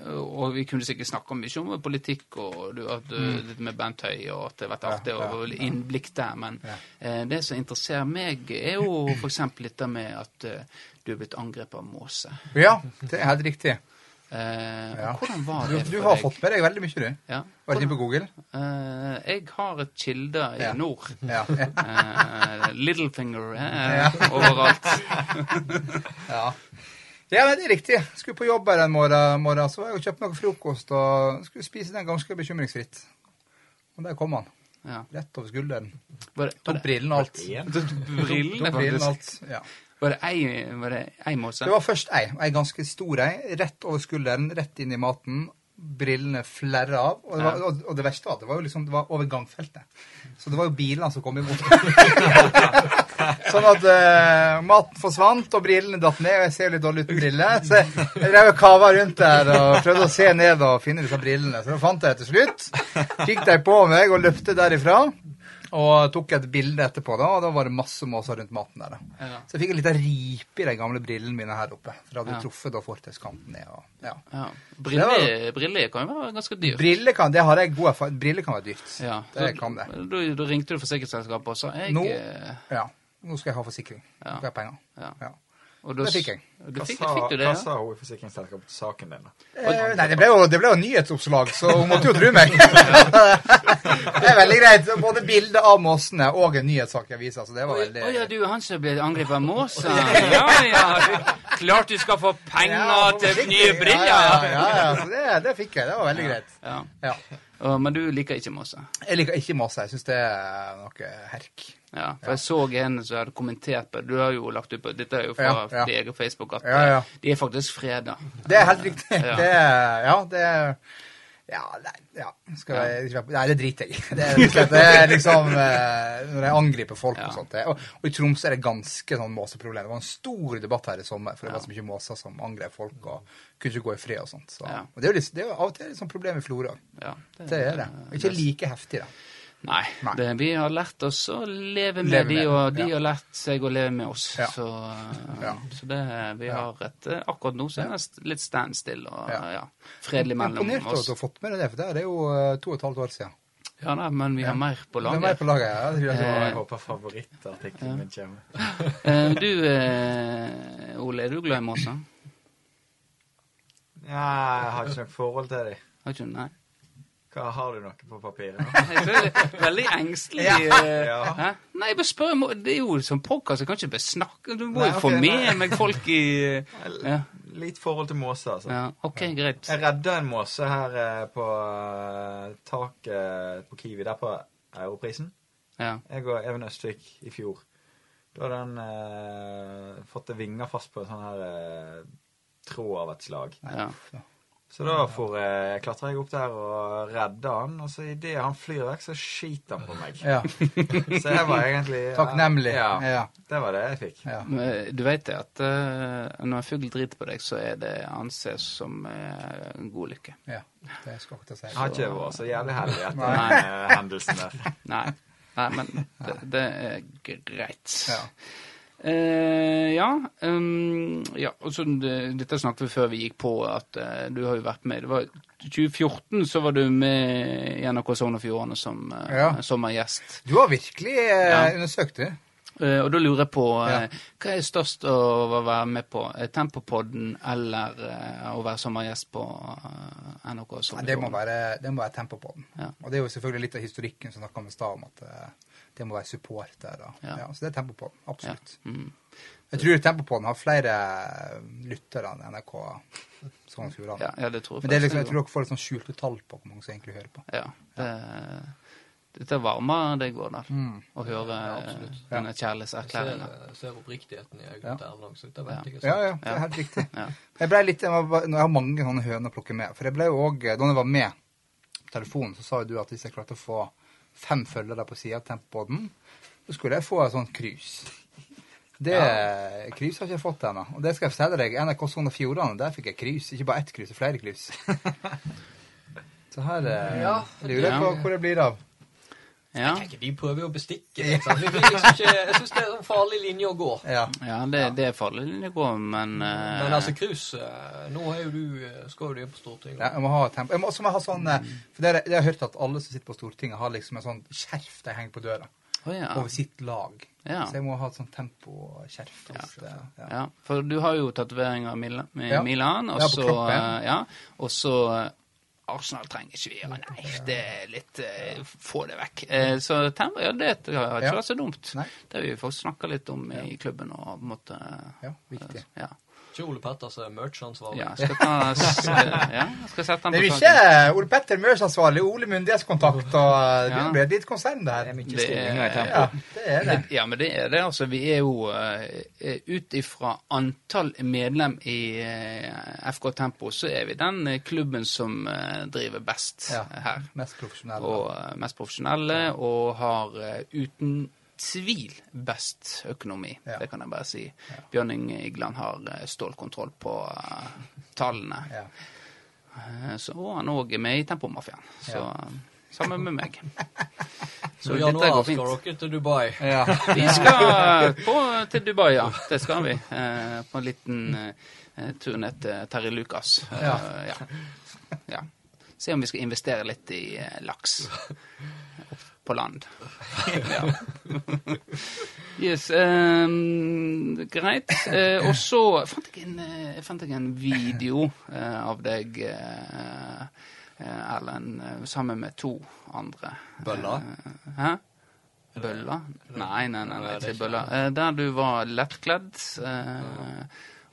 [SPEAKER 1] og vi kunne sikkert snakke om mye om politikk og du, at du, litt med Bent Høie, og at det har vært artig
[SPEAKER 3] Mm. ja,
[SPEAKER 1] og innblikk der, men
[SPEAKER 3] Ja.
[SPEAKER 1] eh, det som interesserer meg, er jo f.eks. dette med at eh, du er blitt angrepet av måse.
[SPEAKER 3] Ja, det er helt riktig.
[SPEAKER 1] Eh, og
[SPEAKER 3] Ja.
[SPEAKER 1] Hvordan var
[SPEAKER 3] Du,
[SPEAKER 1] det
[SPEAKER 3] du
[SPEAKER 1] for
[SPEAKER 3] har
[SPEAKER 1] deg?
[SPEAKER 3] fått med deg veldig mye, du.
[SPEAKER 1] ja.
[SPEAKER 3] Vært inne
[SPEAKER 1] hvordan,
[SPEAKER 3] på Google?
[SPEAKER 1] eh, Jeg har et kilde i
[SPEAKER 3] Ja.
[SPEAKER 1] nord.
[SPEAKER 3] Ja.
[SPEAKER 1] Eh, Littlefinger eh, overalt.
[SPEAKER 3] ja. Ja, men det er riktig. Skulle på jobb her en morgen, morgen så var jeg og kjøpte noe frokost og skulle spise den ganske bekymringsfritt. Og der kom han.
[SPEAKER 1] Ja.
[SPEAKER 3] Rett over skulderen.
[SPEAKER 1] Var det, var
[SPEAKER 3] Tok
[SPEAKER 1] det,
[SPEAKER 3] brillene og alt.
[SPEAKER 2] Igjen.
[SPEAKER 1] brillene,
[SPEAKER 3] Tok brillene og
[SPEAKER 1] faktisk.
[SPEAKER 3] alt. Ja.
[SPEAKER 1] Var det ei, var det ei måse?
[SPEAKER 3] Det var først ei, ei ganske stor ei, rett over skulderen, rett inn i maten. Brillene flerra av. Og det, var, og, og det verste var at det var jo liksom det var over gangfeltet. Så det var jo bilene som kom imot. sånn at eh, maten forsvant, og brillene datt ned. Og jeg ser jo litt dårlig uten briller. Så jeg jeg drev og kava rundt der og prøvde å se ned og finne disse brillene. Så da fant jeg det til slutt. Fikk de på meg og løpte derifra. Og tok et bilde etterpå, da, og da var det masse måser rundt maten der. da.
[SPEAKER 1] Ja.
[SPEAKER 3] Så jeg fikk en liten ripe i de gamle brillene mine her oppe. For jeg hadde
[SPEAKER 1] Ja.
[SPEAKER 3] truffet da fortauskanten ned. Og, ja.
[SPEAKER 1] Ja. Briller, briller kan jo være ganske dyrt.
[SPEAKER 3] Briller kan, det har jeg god erfaring Briller kan være dyrt.
[SPEAKER 1] Ja,
[SPEAKER 3] Det
[SPEAKER 1] så-
[SPEAKER 3] kan det.
[SPEAKER 1] Da, da ringte du forsikringsselskapet og sa jeg
[SPEAKER 3] Nå?
[SPEAKER 1] eh,
[SPEAKER 3] Ja. Nå skal jeg ha forsikring.
[SPEAKER 1] Ja.
[SPEAKER 3] Nå skal jeg ha penger.
[SPEAKER 1] Ja.
[SPEAKER 3] Ja.
[SPEAKER 1] Og da
[SPEAKER 3] Det
[SPEAKER 1] s-
[SPEAKER 3] fikk jeg.
[SPEAKER 1] Du
[SPEAKER 2] Hva
[SPEAKER 1] fikk,
[SPEAKER 2] sa,
[SPEAKER 1] fikk du det?
[SPEAKER 2] hva
[SPEAKER 1] Ja?
[SPEAKER 2] sa hun i forsikringsselskapet til saken din? da?
[SPEAKER 3] Eh, nei, det ble, jo, det ble jo nyhetsoppslag, så hun måtte jo tro meg. det er veldig greit. Både bilde av måsene og en nyhetssak i avisa, så det
[SPEAKER 1] Å
[SPEAKER 3] var
[SPEAKER 1] ja,
[SPEAKER 3] veldig
[SPEAKER 1] å ja, du er han som ble angrepet av måsa. Ja, ja. du- Klart du skal få
[SPEAKER 3] Ja,
[SPEAKER 1] penger til
[SPEAKER 3] forsiktig.
[SPEAKER 1] nye
[SPEAKER 3] Ja, ja,
[SPEAKER 1] briller!
[SPEAKER 3] ja, ja, så det, det fikk jeg. Det var veldig greit.
[SPEAKER 1] Ja.
[SPEAKER 3] Ja.
[SPEAKER 1] Å, Men du liker ikke måsa?
[SPEAKER 3] Jeg liker ikke masse. Jeg syns det er noe herk.
[SPEAKER 1] Ja, for jeg så en som hadde kommentert på det. Du har jo lagt ut på Dette er jo fra
[SPEAKER 3] Ja, ja.
[SPEAKER 1] din egen Facebook at
[SPEAKER 3] Ja, ja.
[SPEAKER 1] eh, de er faktisk freda.
[SPEAKER 3] Det er helt riktig.
[SPEAKER 1] Ja.
[SPEAKER 3] Det er- ja, det er- ja, nei, ja. Skal jeg, ikke være på- nei, det driter jeg i. Det, er rett og slett- det er liksom eh, Når jeg angriper folk
[SPEAKER 1] Ja.
[SPEAKER 3] og sånt. det- Og, og i Tromsø er det ganske sånn måseproblem. Det var en stor debatt her i sommer, for det var så mye måser som angrep folk og kunne ikke gå i fred og sånt. Så.
[SPEAKER 1] Ja.
[SPEAKER 3] Og det er jo litt, det er jo av og til et sånt problem i Florø.
[SPEAKER 1] Ja,
[SPEAKER 3] Det er det. Ikke like heftig, da.
[SPEAKER 1] Nei.
[SPEAKER 3] Nei.
[SPEAKER 1] Det, vi har lært oss å leve med
[SPEAKER 3] Leve
[SPEAKER 1] de,
[SPEAKER 3] med,
[SPEAKER 1] og de
[SPEAKER 3] ja.
[SPEAKER 1] har lært seg å leve med oss.
[SPEAKER 3] Ja.
[SPEAKER 1] Så, eh,
[SPEAKER 3] Ja.
[SPEAKER 1] så det vi har et eh, Akkurat nå så er det st- litt standstill og
[SPEAKER 3] Ja.
[SPEAKER 1] ja, fredelig mellom
[SPEAKER 3] Imponert over at
[SPEAKER 1] oss.
[SPEAKER 3] du har fått med deg det, for det er jo eh, to og et halvt år siden.
[SPEAKER 1] Ja da, men vi har mer på
[SPEAKER 3] Du er med
[SPEAKER 1] laget.
[SPEAKER 3] på laget, ja. Det tror
[SPEAKER 2] Å,
[SPEAKER 3] jeg du har.
[SPEAKER 2] Jeg håper favorittartikkelen min kommer.
[SPEAKER 1] Eh, Du, eh, Ole, er du glad i måser?
[SPEAKER 2] Ja, jeg har ikke noe forhold til dem.
[SPEAKER 1] Har ikke du? Nei?
[SPEAKER 2] Hva Har du noe på papiret?
[SPEAKER 1] Jeg tror det er veldig engstelig. eh,
[SPEAKER 2] Ja.
[SPEAKER 1] Hæ? Nei, jeg bare spør. jeg må- Det er jo som podkast, jeg kan ikke bare snakke. Du må
[SPEAKER 2] Nei,
[SPEAKER 1] jo
[SPEAKER 2] ok,
[SPEAKER 1] få
[SPEAKER 2] nei.
[SPEAKER 1] med meg folk i ja,
[SPEAKER 2] Litt forhold til måser, altså.
[SPEAKER 1] ja, OK, greit.
[SPEAKER 2] Jeg redda en måse her eh, på eh, taket på Kiwi, der på Europrisen.
[SPEAKER 1] Ja.
[SPEAKER 2] Jeg og Even Østvik i fjor. Da hadde han eh, fått vinger fast på en sånn her eh, tråd av et slag.
[SPEAKER 1] ja.
[SPEAKER 2] Så da for, eh, klatra jeg opp der og redda han, og så idet han flyr vekk, så skiter han på meg.
[SPEAKER 3] Ja.
[SPEAKER 2] Så jeg var egentlig
[SPEAKER 3] Takknemlig.
[SPEAKER 2] Ja,
[SPEAKER 3] Ja.
[SPEAKER 2] Det var det jeg fikk.
[SPEAKER 3] Ja.
[SPEAKER 1] Men Du vet det at eh, når en fugl driter på deg, så er det anses som eh, en god lykke.
[SPEAKER 3] ja. Det skal jeg ikke si.
[SPEAKER 2] Jeg har ikke vært så jævlig heldig etter
[SPEAKER 1] Nei.
[SPEAKER 2] den eh, hendelsen der.
[SPEAKER 1] Nei. Nei, men det, det er greit.
[SPEAKER 3] Ja.
[SPEAKER 1] Eh, ja, um, ja og så, det- Dette snakket vi før vi gikk på, at eh, du har jo vært med. Det var 2014 så var du med i NRK Sogn og Fjordane som eh,
[SPEAKER 3] Ja.
[SPEAKER 1] sommergjest.
[SPEAKER 3] Du har virkelig eh,
[SPEAKER 1] Ja.
[SPEAKER 3] undersøkt, du.
[SPEAKER 1] Eh, og da lurer jeg på eh,
[SPEAKER 3] Ja.
[SPEAKER 1] hva er størst å være med på? Eh, Tempopodden eller eh, å være sommergjest på eh, NRK Sogn
[SPEAKER 3] Nei,
[SPEAKER 1] og
[SPEAKER 3] det, må
[SPEAKER 1] Fjordane?
[SPEAKER 3] være, det må være tempo på den.
[SPEAKER 1] Ja.
[SPEAKER 3] Og det er jo selvfølgelig litt av historikken som snakka om i stad, om at eh, det må være support der. Da.
[SPEAKER 1] Ja.
[SPEAKER 3] Ja. så det er tempo på den. Absolutt.
[SPEAKER 1] Mm.
[SPEAKER 3] Jeg tror tempo på den har flere eh, lyttere enn NRK Sogn og
[SPEAKER 1] Ja,
[SPEAKER 3] Fjordane.
[SPEAKER 1] ja, det tror jeg
[SPEAKER 3] Men det er liksom, jeg
[SPEAKER 1] faktisk det
[SPEAKER 3] tror dere får litt sånn skjulte tall på hvor mange som egentlig hører på.
[SPEAKER 1] går. Ja, det, dette varmer deg, Vårdal,
[SPEAKER 3] Mm.
[SPEAKER 1] å høre
[SPEAKER 4] Ja,
[SPEAKER 1] eh,
[SPEAKER 4] absolutt.
[SPEAKER 1] denne
[SPEAKER 4] Jeg ser,
[SPEAKER 1] kjærlighetserklæringa.
[SPEAKER 4] jeg ser oppriktigheten i
[SPEAKER 3] Ja.
[SPEAKER 4] øynene til Erlang, så det vet jeg ikke.
[SPEAKER 3] Ja, ja,
[SPEAKER 4] sant.
[SPEAKER 3] det er helt riktig.
[SPEAKER 1] Ja.
[SPEAKER 3] Jeg ble litt, jeg, var, bare- jeg har mange sånne høner å plukke med. For jeg ble jo også, da jeg var med på telefonen, så sa jo du at hvis jeg klarte å få fem følgere på siden av Tempodden, så skulle jeg få et sånt krus. Det krus har ikke jeg fått ennå. Og det skal jeg fortelle deg. NRK Sogn og Fjordane, der fikk jeg krus. Ikke bare ett krus, men flere krus. Så her eh,
[SPEAKER 4] Ja,
[SPEAKER 3] lurer jeg på hvor det blir av.
[SPEAKER 1] Ja.
[SPEAKER 4] Tenk, de prøver jo å bestikke. litt, sant? Vi vil liksom ikke, jeg syns det er en farlig linje å gå.
[SPEAKER 3] Ja.
[SPEAKER 1] Ja, det, det er farlig det går, men, eh,
[SPEAKER 4] Men altså, Krus, eh, nå er jo du, eh, skal jo du inn på Stortinget.
[SPEAKER 3] Ja, jeg må ha tempo. Jeg må også må jeg ha sånn eh, For det har jeg- det har jeg hørt at alle som sitter på Stortinget, har liksom en sånn skjerf de henger på døra.
[SPEAKER 1] å ja.
[SPEAKER 3] over sitt lag.
[SPEAKER 1] Ja.
[SPEAKER 3] Så jeg må ha et sånt temposkjerf. Ja. Ja.
[SPEAKER 1] Ja, for du har jo tatoveringer av Mila, med
[SPEAKER 3] Ja.
[SPEAKER 1] Milan, og
[SPEAKER 3] Ja, på
[SPEAKER 1] så
[SPEAKER 3] kroppen.
[SPEAKER 1] eh, ja, og så eh, Arsenal trenger ikke vi, ja, nei, det er litt eh, Få det vekk. Eh, så Temba, ja, det har ikke
[SPEAKER 3] Ja.
[SPEAKER 1] vært så dumt.
[SPEAKER 3] Nei.
[SPEAKER 1] Det har vi faktisk snakka litt om i klubben og på en måte eh,
[SPEAKER 3] Ja, viktig.
[SPEAKER 1] Ja.
[SPEAKER 4] Ikke Ole Petters eh, merch-ansvarlig.
[SPEAKER 1] ja, jeg skal ta s- Ja, jeg skal sette
[SPEAKER 3] Det
[SPEAKER 1] den på
[SPEAKER 3] er jo
[SPEAKER 1] saken.
[SPEAKER 3] ikke eh, Ole Petter Møhrs ansvarlig, Ole myndighetskontakt og eh, Det
[SPEAKER 1] Ja.
[SPEAKER 3] blir et litt konsern, det
[SPEAKER 2] Det
[SPEAKER 3] her.
[SPEAKER 2] er mye
[SPEAKER 1] Det-
[SPEAKER 2] stillinger i tempo.
[SPEAKER 3] Ja, det er det.
[SPEAKER 1] Ja, men det er det. Altså, vi er jo uh, ut ifra antall medlem i eh, FK Tempo, så er vi den eh, klubben som eh, driver best
[SPEAKER 3] Ja.
[SPEAKER 1] eh, her.
[SPEAKER 3] Mest profesjonelle.
[SPEAKER 1] og eh, mest profesjonelle, og har eh, uten tvil best økonomi.
[SPEAKER 3] Ja.
[SPEAKER 1] Det kan jeg bare si. Bjørning Igland har eh, stålkontroll på eh, tallene.
[SPEAKER 3] Ja.
[SPEAKER 1] Eh, Så, og han òg er med i Tempomafiaen. Så
[SPEAKER 3] Ja.
[SPEAKER 1] eh, sammen med meg.
[SPEAKER 4] Så
[SPEAKER 1] Så
[SPEAKER 4] i
[SPEAKER 1] dette
[SPEAKER 4] januar
[SPEAKER 1] går
[SPEAKER 4] skal
[SPEAKER 1] fint.
[SPEAKER 4] dere til Dubai.
[SPEAKER 3] Ja.
[SPEAKER 1] Vi skal på, til Dubai, ja. Det skal vi. Eh, på en liten eh, tur ned til Terry Lucas. Eh,
[SPEAKER 3] Ja.
[SPEAKER 1] ja. ja. Se om vi skal investere litt i eh, laks opp på land. Ja. Yes, ehm, greit. Eh, og så fant jeg en, eh, jeg fant jeg en video eh, av deg, eh, eh, Erlend, eh, sammen med to andre.
[SPEAKER 4] Bølla?
[SPEAKER 1] Eh, hæ? Bølla? Nei, nei, nei, nei ikke bølla. Eh, der du var lettkledd. Eh,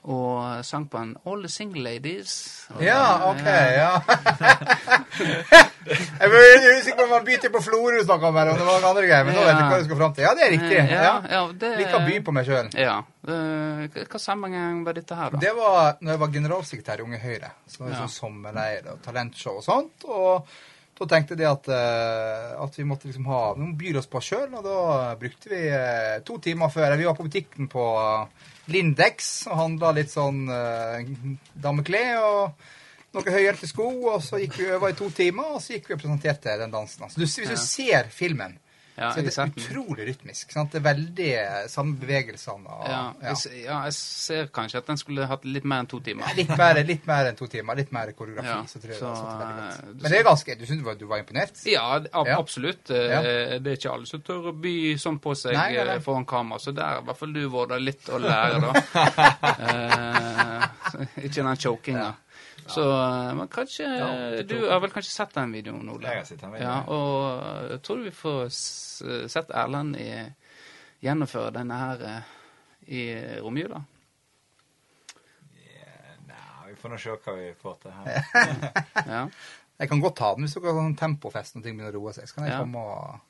[SPEAKER 1] og sang på en All the Single Ladies. Og,
[SPEAKER 3] Ja,
[SPEAKER 1] eh,
[SPEAKER 3] OK. ja. jeg var usikker på om man bytter på Florø og snakker om her, og det var noen andre greier, men nå vet jeg hva du skal fram til. Ja, det er riktig.
[SPEAKER 1] Eh,
[SPEAKER 3] Ja.
[SPEAKER 1] ja, ja, det-
[SPEAKER 3] Liker å by på meg sjøl.
[SPEAKER 1] Ja. Eh, hva- hva sammenheng var dette her, da?
[SPEAKER 3] Det var når jeg var generalsekretær i Unge Høyre. Så var det
[SPEAKER 1] Ja.
[SPEAKER 3] sånn sommerleir og talentshow og sånt. Og da tenkte de at, eh, at vi måtte liksom ha noen byr oss på oss sjøl, og da brukte vi eh, to timer før eller Vi var på butikken på Lindex og handla litt sånn eh, dameklær og noen høyhælte sko, og så gikk vi over i to timer, og så gikk vi og presenterte den dansen. Så du, hvis du ser filmen,
[SPEAKER 1] Ja,
[SPEAKER 3] så er
[SPEAKER 1] jeg
[SPEAKER 3] det
[SPEAKER 1] har sett den.
[SPEAKER 3] utrolig rytmisk. Sant? Det er veldig eh, samme bevegelsene. Og,
[SPEAKER 1] Ja, jeg, s- ja, jeg ser kanskje at den skulle hatt litt mer enn to timer.
[SPEAKER 3] Litt mer, litt mer enn to timer. Litt mer koreografi.
[SPEAKER 1] Ja,
[SPEAKER 3] så tror jeg
[SPEAKER 1] så,
[SPEAKER 3] det satt veldig godt.
[SPEAKER 1] eh, du
[SPEAKER 3] Men det er ganske Du synes du var, du var imponert?
[SPEAKER 1] Ja, ab
[SPEAKER 3] Ja.
[SPEAKER 1] absolutt. Eh,
[SPEAKER 3] Ja.
[SPEAKER 1] Det er ikke alle som tør å by sånn på seg
[SPEAKER 3] Nei, nei, nei.
[SPEAKER 1] eh, foran kamera, så der er i hvert fall du, Vårdar, litt å lære, da. Eh, så- ikke den chokinga. Så, eh, men kanskje
[SPEAKER 4] Ja, det
[SPEAKER 1] Du har vel kanskje sett den videoen, Ole?
[SPEAKER 2] Jeg har sett den videoen.
[SPEAKER 1] Ja, og eh, jeg tror vi får s eh, sett Erlend i, gjennomføre denne her eh, i romjula.
[SPEAKER 2] Nei, vi får nå se hva vi får til her.
[SPEAKER 1] Ja.
[SPEAKER 3] Jeg kan godt ta den hvis dere har sånn tempofest når ting begynner å roe seg. Så kan jeg
[SPEAKER 1] Ja.
[SPEAKER 3] komme og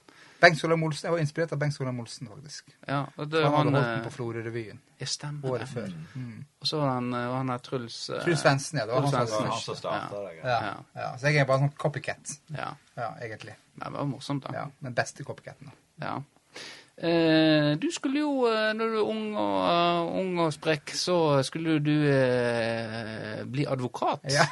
[SPEAKER 3] Bengt Solheim Olsen. Jeg var inspirert av Bengt Solheim Olsen, faktisk.
[SPEAKER 1] ja og det,
[SPEAKER 3] Han hadde
[SPEAKER 1] han,
[SPEAKER 3] holdt den
[SPEAKER 1] eh, Mm.
[SPEAKER 3] på Florø-revyen
[SPEAKER 1] jeg stemmer
[SPEAKER 3] året
[SPEAKER 1] det.
[SPEAKER 3] før.
[SPEAKER 1] Og så var han, eh, var han der Truls eh,
[SPEAKER 3] Truls Svendsen, ja. Det var
[SPEAKER 1] Truls
[SPEAKER 3] han
[SPEAKER 2] Det var
[SPEAKER 3] som
[SPEAKER 1] Svendsen.
[SPEAKER 2] han som starta det.
[SPEAKER 3] ja,
[SPEAKER 1] Ja.
[SPEAKER 3] ja. Så jeg er bare en sånn copycat,
[SPEAKER 1] Ja.
[SPEAKER 3] ja, egentlig.
[SPEAKER 1] Nei, Det var morsomt, da.
[SPEAKER 3] Ja, Den beste copycaten. da.
[SPEAKER 1] Ja. Eh, du skulle jo, eh, når du er ung og, eh, ung og sprekk, så skulle jo du eh, bli advokat.
[SPEAKER 3] Ja.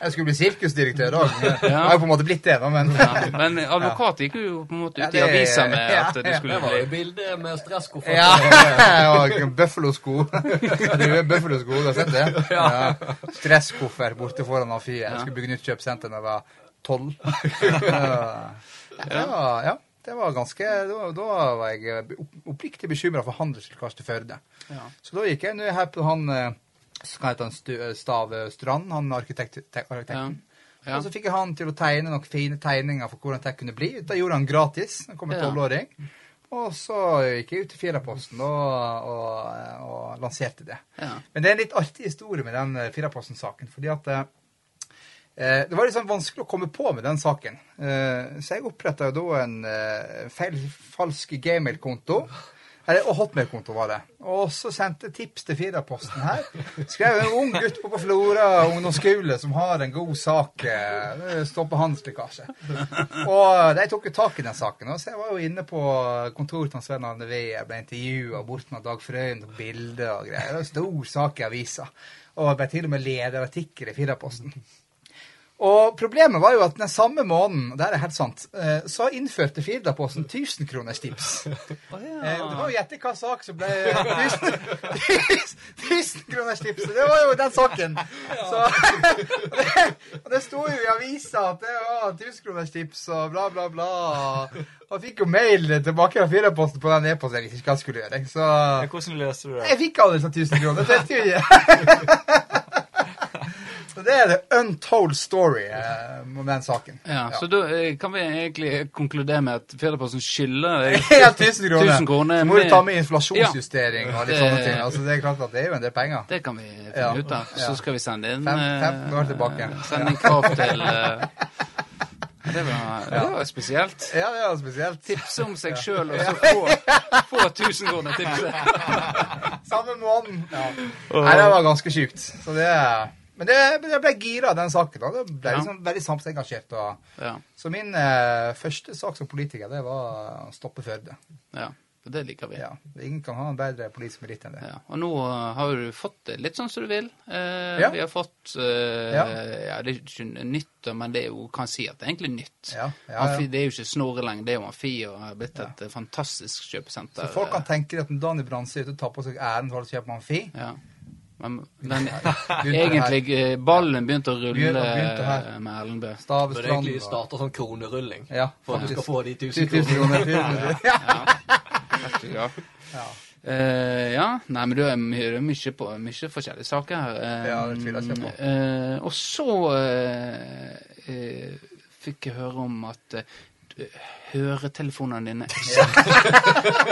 [SPEAKER 3] Jeg skulle bli sirkusdirektør òg. Jeg har jo på en måte blitt det, da, men
[SPEAKER 1] Ja, Men advokat gikk jo på en måte
[SPEAKER 3] Ja,
[SPEAKER 1] ut i
[SPEAKER 3] det-
[SPEAKER 1] avisa med
[SPEAKER 3] ja,
[SPEAKER 1] at du
[SPEAKER 3] ja.
[SPEAKER 1] skulle
[SPEAKER 4] Det var jo
[SPEAKER 1] bli
[SPEAKER 4] bildet med stresskoffert.
[SPEAKER 3] Ja, og bøffelosko. Røde bøffelosko, du har sett det? Ja. Stresskoffer borte foran amfiet. Jeg skulle bygge nytt kjøpesenter da jeg var tolv. Ja. Det var- Ja. Det var ganske, da, da var jeg opp- oppriktig bekymra for handelslekkasje til Førde.
[SPEAKER 1] Ja.
[SPEAKER 3] Så da gikk jeg ned her på han eh, Hva heter han Stu- Stave Strand, han arkitekt, te- arkitekten.
[SPEAKER 1] Ja.
[SPEAKER 3] Og så fikk jeg han til å tegne noen fine tegninger for hvordan dette kunne bli. Det gjorde han gratis. Han kom en
[SPEAKER 1] Ja.
[SPEAKER 3] tolvåring. Og så gikk jeg ut til Firaposten og, og, og lanserte det.
[SPEAKER 1] Ja.
[SPEAKER 3] Men det er en litt artig historie med den eh, Firaposten-saken. fordi at eh, eh, Det var litt sånn vanskelig å komme på med den saken. Eh, Så jeg oppretta da en eh, feil, falsk gmail-konto. Eller og Hotmail-konto, var det. Og så sendte jeg tips til Firaposten her. Skrev en ung gutt på, på Flora ungdomsskole som har en god sak. eh, Stopper handelslekkasje. Og de tok jo tak i den saken. og Så jeg var jo inne på kontoret til Sven Arne Wee. Jeg ble intervjua bort med Dag Frøyen og bilder og greier. Det var en stor sak i avisa. Og jeg ble til og med lederartikkel i Firaposten. Og problemet var jo at den samme måneden, og det her er helt sant, eh, så innførte Firdaposten 1000 kroners tips. Eh, og Det var jo gjette hva sak som ble 1000 1000 kroners tips. Det var jo den saken. Så, og det sto jo i avisa at det var 1000 kroners tips og bla, bla, bla. Og jeg fikk jo mail tilbake fra Firdaposten på den e-posten. Jeg visste ikke hva jeg skulle gjøre. jeg. Så
[SPEAKER 2] Ja, Hvordan løste du det?
[SPEAKER 3] jeg fikk aldri sånn 1000 kroner. Det tenkte jeg ikke. Så det er the untold story eh, om den saken.
[SPEAKER 1] ja, Så da eh, kan vi egentlig konkludere med at Fjerdeposten skylder deg
[SPEAKER 3] Ja, 1000 kroner.
[SPEAKER 1] 1000 kroner
[SPEAKER 3] Så må du
[SPEAKER 1] med-
[SPEAKER 3] ta med inflasjonsjustering og litt
[SPEAKER 1] Ja.
[SPEAKER 3] sånne ting. Altså, det er klart at det er jo en del penger.
[SPEAKER 1] Det kan vi finne
[SPEAKER 3] Ja.
[SPEAKER 1] ut av. Så
[SPEAKER 3] Ja.
[SPEAKER 1] skal vi sende inn
[SPEAKER 3] Fem-
[SPEAKER 1] eh,
[SPEAKER 3] 15 år tilbake.
[SPEAKER 1] Sende inn krav til eh, ja, det, var, det var spesielt.
[SPEAKER 3] Ja, det er spesielt.
[SPEAKER 1] Tipse om seg sjøl, og så få, få 1000 kroner tipset.
[SPEAKER 3] Samme måneden. Nei, det var ganske sjukt. Så det men det, men jeg ble gira av den saken. da. Det ble
[SPEAKER 1] Ja.
[SPEAKER 3] liksom veldig samfunnsengasjert. Og...
[SPEAKER 1] Ja,
[SPEAKER 3] Så min eh, første sak som politiker, det var å stoppe Førde.
[SPEAKER 1] ja. Det liker vi.
[SPEAKER 3] Ja. Ingen kan ha en bedre politisk meritt enn det.
[SPEAKER 1] Ja, og nå eh, har jo du fått det litt sånn som du vil. Eh,
[SPEAKER 3] Ja.
[SPEAKER 1] Vi har fått eh, ja.
[SPEAKER 3] Ja.
[SPEAKER 1] det er ikke nytt, da, men det er jo, kan si at det er egentlig nytt.
[SPEAKER 3] Ja, ja, ja.
[SPEAKER 1] Amfi, det er jo ikke Snorre lenger, det er jo Amfi og har blitt et eh, fantastisk kjøpesenter.
[SPEAKER 4] eh,
[SPEAKER 3] Så folk kan tenke at en Daniel Brandsli er ute og tar på seg æren for å kjøpe Amfi.
[SPEAKER 1] Eh, ja. Men den
[SPEAKER 3] Begynte
[SPEAKER 1] egentlig eh, Ballen begynte å rulle
[SPEAKER 3] Begynte- begynte her.
[SPEAKER 1] eh, med Ellenbø.
[SPEAKER 3] her.
[SPEAKER 4] Bør
[SPEAKER 3] Stavestrand
[SPEAKER 4] egentlig
[SPEAKER 3] og-
[SPEAKER 4] starte sånn kronerulling.
[SPEAKER 3] Ja,
[SPEAKER 4] For at du skal
[SPEAKER 3] faktisk.
[SPEAKER 4] få de
[SPEAKER 3] 1000
[SPEAKER 4] 1000 kronene.
[SPEAKER 3] kroner. 1000 kroner.
[SPEAKER 1] Ja.
[SPEAKER 3] Ja.
[SPEAKER 1] Eh, ja. Nei, men det er mye, det er mye, på, mye forskjellige saker her. Eh,
[SPEAKER 3] Ja, det tviler jeg ikke på.
[SPEAKER 1] eh, og så eh, eh, fikk jeg høre om at eh, d- høretelefonene dine eks-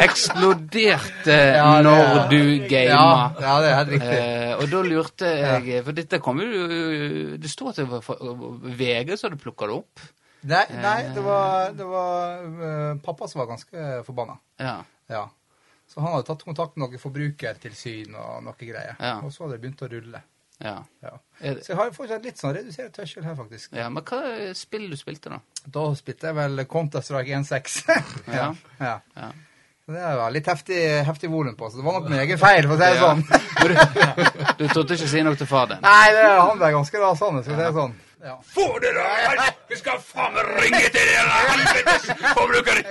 [SPEAKER 1] eksploderte
[SPEAKER 3] Ja, det er-
[SPEAKER 1] når du
[SPEAKER 3] Ja,
[SPEAKER 1] gamer.
[SPEAKER 3] ja, det er helt riktig.
[SPEAKER 1] Eh, og da lurte jeg eh, For dette kom jo Det står at det var fra- VG som hadde plukka det opp.
[SPEAKER 3] Nei, nei
[SPEAKER 4] eh.
[SPEAKER 3] det var, det var øh, pappa som var ganske forbanna.
[SPEAKER 1] Ja.
[SPEAKER 3] Ja. Så han hadde tatt kontakt med noen forbrukertilsyn og noe greier.
[SPEAKER 1] Ja.
[SPEAKER 3] Og så hadde det begynt å rulle.
[SPEAKER 1] ja.
[SPEAKER 3] Ja.
[SPEAKER 1] Er det-
[SPEAKER 3] Så jeg har fortsatt litt sånn redusert tørsel her, faktisk.
[SPEAKER 1] ja men hva eh, spill du spilte, da?
[SPEAKER 3] Da spilte jeg vel Counter-Strike 1.6.
[SPEAKER 1] Ja.
[SPEAKER 3] ja.
[SPEAKER 1] Ja.
[SPEAKER 3] Så det var litt heftig, heftig volum på, så det var nok min egen feil, for å si det
[SPEAKER 1] Ja.
[SPEAKER 3] sånn.
[SPEAKER 1] Du trodde ikke å si noe til far din?
[SPEAKER 3] Nei, det, han ble ganske rasende, for å si det sånn. Ja.
[SPEAKER 1] Få det, da! Vi skal faen meg ringe til dere helvetes forbrukere!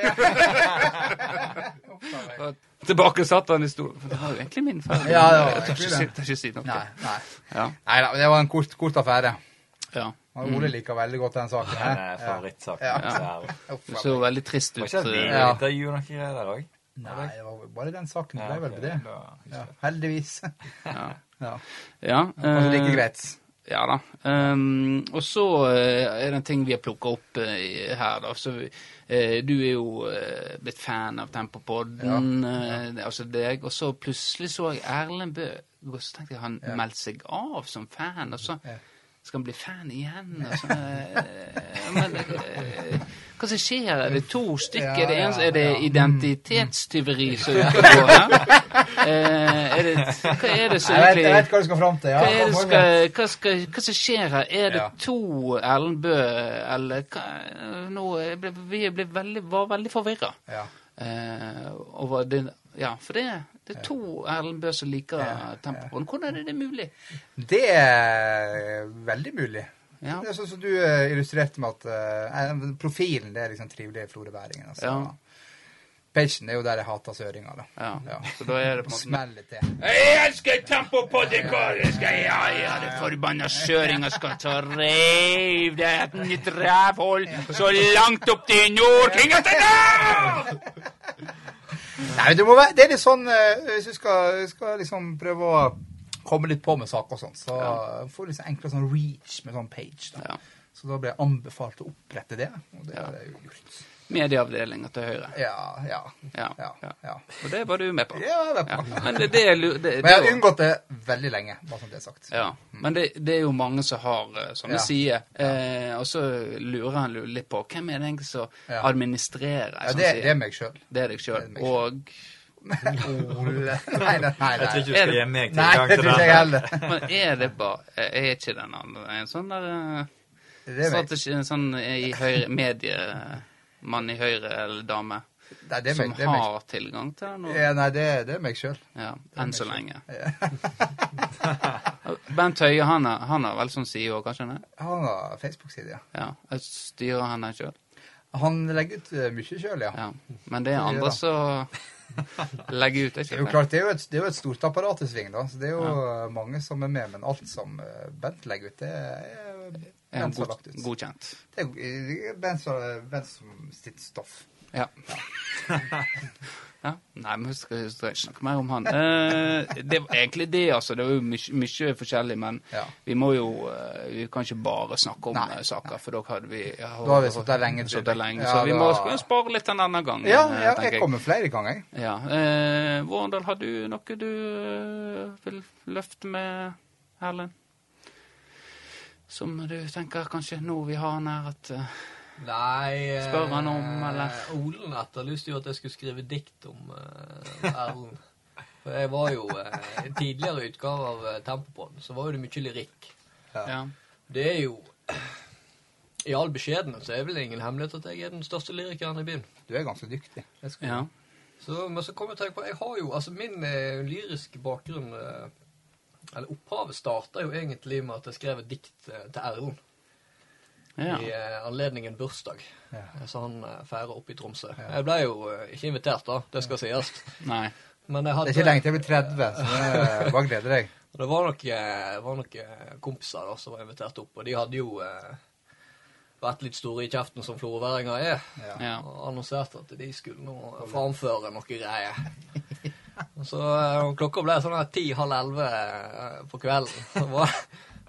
[SPEAKER 1] Tilbake satt han i stolen. For det var jo egentlig min feil.
[SPEAKER 3] Ja, det var
[SPEAKER 1] jeg tør ikke,
[SPEAKER 3] egentlig
[SPEAKER 1] si-
[SPEAKER 3] det.
[SPEAKER 1] tør ikke si noe.
[SPEAKER 3] Nei, nei.
[SPEAKER 1] Ja.
[SPEAKER 3] Nei da, men det var en kort, kort affære.
[SPEAKER 1] ja.
[SPEAKER 3] Og Ole liker veldig godt den saken.
[SPEAKER 2] Den
[SPEAKER 3] her.
[SPEAKER 2] er favorittsaken.
[SPEAKER 3] Ja.
[SPEAKER 2] så her.
[SPEAKER 1] Du så jo veldig trist
[SPEAKER 2] Det var
[SPEAKER 1] ut.
[SPEAKER 2] ikke at vi
[SPEAKER 1] eh,
[SPEAKER 3] Ja.
[SPEAKER 2] intervjuet noen greier der òg.
[SPEAKER 3] Nei, det var bare den saken. Det
[SPEAKER 2] Ja,
[SPEAKER 3] ble vel
[SPEAKER 2] ok,
[SPEAKER 3] det.
[SPEAKER 2] da-
[SPEAKER 3] Ja, heldigvis.
[SPEAKER 1] Ja.
[SPEAKER 3] Ja. Altså,
[SPEAKER 1] Ja,
[SPEAKER 3] Kanskje like
[SPEAKER 1] eh,
[SPEAKER 3] greit.
[SPEAKER 1] Ja da. Ehm, og så eh, er det en ting vi har plukka opp eh, i- her, da. Så, vi- eh, du er jo eh, blitt fan av Tempopodden, eh, det- altså deg. Og så plutselig så jeg Erlend Bø, og så tenkte jeg han meldte seg av som fan. Og så
[SPEAKER 3] Ja.
[SPEAKER 1] skal han bli fan igjen. Og så, eh, men eh, hva som skjer? Er det to stykker?
[SPEAKER 3] Ja,
[SPEAKER 1] er, det en,
[SPEAKER 3] ja,
[SPEAKER 1] er det
[SPEAKER 3] ja.
[SPEAKER 1] identitetstyveri som er ute og går her? Eh, er det, hva er det som
[SPEAKER 3] Jeg vet,
[SPEAKER 1] egentlig
[SPEAKER 3] jeg vet hva du skal fram til. Ja.
[SPEAKER 1] hva er det
[SPEAKER 3] Kom,
[SPEAKER 1] skal,
[SPEAKER 3] Morgan.
[SPEAKER 1] hva, skal, hva som skjer her? Er det
[SPEAKER 3] Ja.
[SPEAKER 1] to Erlend Bø, eller hva nå, jeg ble, Vi ble veldig, var veldig forvirra.
[SPEAKER 3] Ja.
[SPEAKER 1] Eh, over det, ja, for det, det er to Erlend Bø som liker
[SPEAKER 3] Ja,
[SPEAKER 1] tempoen. Hvordan er det det mulig?
[SPEAKER 3] Det er veldig mulig.
[SPEAKER 1] Ja.
[SPEAKER 3] Det er sånn som du eh, illustrerte med at eh, eh, profilen det er liksom trivelige florøværingen. Altså.
[SPEAKER 1] Ja.
[SPEAKER 3] Pagen er jo der jeg hater søringa, da.
[SPEAKER 1] Ja.
[SPEAKER 3] Ja.
[SPEAKER 1] Så da er det på en måte
[SPEAKER 3] Smeller til.
[SPEAKER 1] Jeg elsker tempo på det kåret! Ja, ja, det forbanna søringa skal ta reiv det er et nytt rævhold så langt opp til Nordkringastad!
[SPEAKER 3] Nei, det, må være, det er litt sånn eh, Hvis du skal, skal liksom prøve å komme litt på med saker og sånn, så får du liksom enklere sånn reach med sånn page. Da.
[SPEAKER 1] Ja.
[SPEAKER 3] Så da ble jeg anbefalt å opprette det, og det
[SPEAKER 1] Ja.
[SPEAKER 3] har jeg jo gjort.
[SPEAKER 1] Medieavdelinga til Høyre.
[SPEAKER 3] Ja, ja.
[SPEAKER 1] Ja,
[SPEAKER 3] ja,
[SPEAKER 1] ja.
[SPEAKER 3] ja.
[SPEAKER 1] Og det var du med på.
[SPEAKER 3] Ja, jeg vet
[SPEAKER 1] Ja.
[SPEAKER 3] på.
[SPEAKER 1] Men det, det er lu- det, det
[SPEAKER 3] Men
[SPEAKER 1] er
[SPEAKER 3] jeg har
[SPEAKER 1] jo-
[SPEAKER 3] unngått det veldig lenge, bare som det er sagt.
[SPEAKER 1] Ja. Men det, det er jo mange som har eh, sånne
[SPEAKER 3] Ja.
[SPEAKER 1] sider. Eh, og så lurer han jo litt på hvem er det egentlig som
[SPEAKER 3] Ja.
[SPEAKER 1] administrerer
[SPEAKER 3] Ja,
[SPEAKER 1] en sånn
[SPEAKER 3] det, det
[SPEAKER 1] side.
[SPEAKER 3] er meg sjøl.
[SPEAKER 1] Det er deg sjøl.
[SPEAKER 3] det er meg
[SPEAKER 1] Og
[SPEAKER 3] Ole Nei, nei, nei.
[SPEAKER 2] Jeg tror ikke
[SPEAKER 3] nei.
[SPEAKER 2] du skal gi meg
[SPEAKER 3] Nei,
[SPEAKER 2] tilgang
[SPEAKER 3] det
[SPEAKER 2] til
[SPEAKER 3] tror ikke jeg
[SPEAKER 2] den.
[SPEAKER 3] heller.
[SPEAKER 1] Men er det bare Er ikke den andre en sånn der eh,
[SPEAKER 3] Det er meg.
[SPEAKER 1] strategi, en sånn i høyre mediemann i Høyre eller dame
[SPEAKER 3] Nei, det er
[SPEAKER 1] som
[SPEAKER 3] meg, det er meg.
[SPEAKER 1] har tilgang til den? og-
[SPEAKER 3] Ja, nei, det, det er meg sjøl.
[SPEAKER 1] Ja, enn så lenge. Bent Høie, han har, han har vel sånn side òg, kanskje? han er?
[SPEAKER 3] Han har Facebook-side, ja.
[SPEAKER 1] Ja, jeg styrer han her sjøl.
[SPEAKER 3] Han legger ut eh, mye sjøl, ja.
[SPEAKER 1] Ja. Men det er
[SPEAKER 3] Ja,
[SPEAKER 1] andre
[SPEAKER 3] da.
[SPEAKER 1] som legger ut.
[SPEAKER 3] Det er jo
[SPEAKER 1] Ikke?
[SPEAKER 3] klart, det er jo et, det er jo et stort apparat i sving, da. Så det er jo eh, mange som er med. Men alt som eh, Bent legger ut, det er
[SPEAKER 1] Er han
[SPEAKER 3] Bent som har
[SPEAKER 1] god,
[SPEAKER 3] lagt ut.
[SPEAKER 1] godkjent?
[SPEAKER 3] Det er eh, Bent som, Bent som sitt stoff.
[SPEAKER 1] Ja. ja. Nei, men vi skal vi skal ikke snakke mer om han. Eh, det var egentlig det, altså. Det var jo mye, mye forskjellig, men
[SPEAKER 3] Ja.
[SPEAKER 1] vi må jo eh, Vi kan ikke bare snakke om
[SPEAKER 3] Nei.
[SPEAKER 1] eh, saker, for da hadde vi ja,
[SPEAKER 3] Da har vi sittet der lenge, tror jeg.
[SPEAKER 1] sittet der lenge
[SPEAKER 3] Ja,
[SPEAKER 1] så vi må
[SPEAKER 3] da-
[SPEAKER 1] skal jo spare litt en annen gang.
[SPEAKER 3] Ja,
[SPEAKER 1] eh,
[SPEAKER 3] ja
[SPEAKER 1] tenker
[SPEAKER 3] jeg kommer flere ganger, jeg.
[SPEAKER 1] Ja. Eh, Vårendal, har du noe du eh, vil løfte med, Erlend? Som du tenker kanskje nå vi har han her at eh,
[SPEAKER 4] Nei eh,
[SPEAKER 1] Spør han om, eller?
[SPEAKER 4] Olen etterlyste jo at jeg skulle skrive dikt om eh, Erlend. For jeg var jo eh, i tidligere utgave av eh, Tempopodden, så var jo det mye lyrikk.
[SPEAKER 1] ja.
[SPEAKER 4] Det er jo I all beskjedenhet så er vel det ingen hemmelighet at jeg er den største lyrikeren i byen.
[SPEAKER 3] Du er ganske dyktig. Det skal du
[SPEAKER 1] ja.
[SPEAKER 3] ha.
[SPEAKER 4] Så, men så kom jeg til å tenke på Jeg har jo Altså, min eh, lyriske bakgrunn eh, Eller opphavet starta jo egentlig med at jeg skrev et dikt eh, til Erlend.
[SPEAKER 1] Ja.
[SPEAKER 4] i eh, anledningen bursdag.
[SPEAKER 3] Ja.
[SPEAKER 4] Så han eh, feirer oppe i Tromsø. Jeg ble jo eh, ikke invitert, da. Det skal sies.
[SPEAKER 1] Nei.
[SPEAKER 4] Men jeg
[SPEAKER 3] Det
[SPEAKER 4] hadde
[SPEAKER 3] er ikke lenge til jeg blir 30, så det er bare gleder deg.
[SPEAKER 4] Og det var noen, var noen kompiser da, som var invitert opp, og de hadde jo eh, vært litt store i kjeften som florøværinger er,
[SPEAKER 3] Ja.
[SPEAKER 1] Ja.
[SPEAKER 4] og annonserte at de skulle nå framføre noe greier. Og Så eh, klokka ble sånn her ti-halv elleve eh, på kvelden. Det var,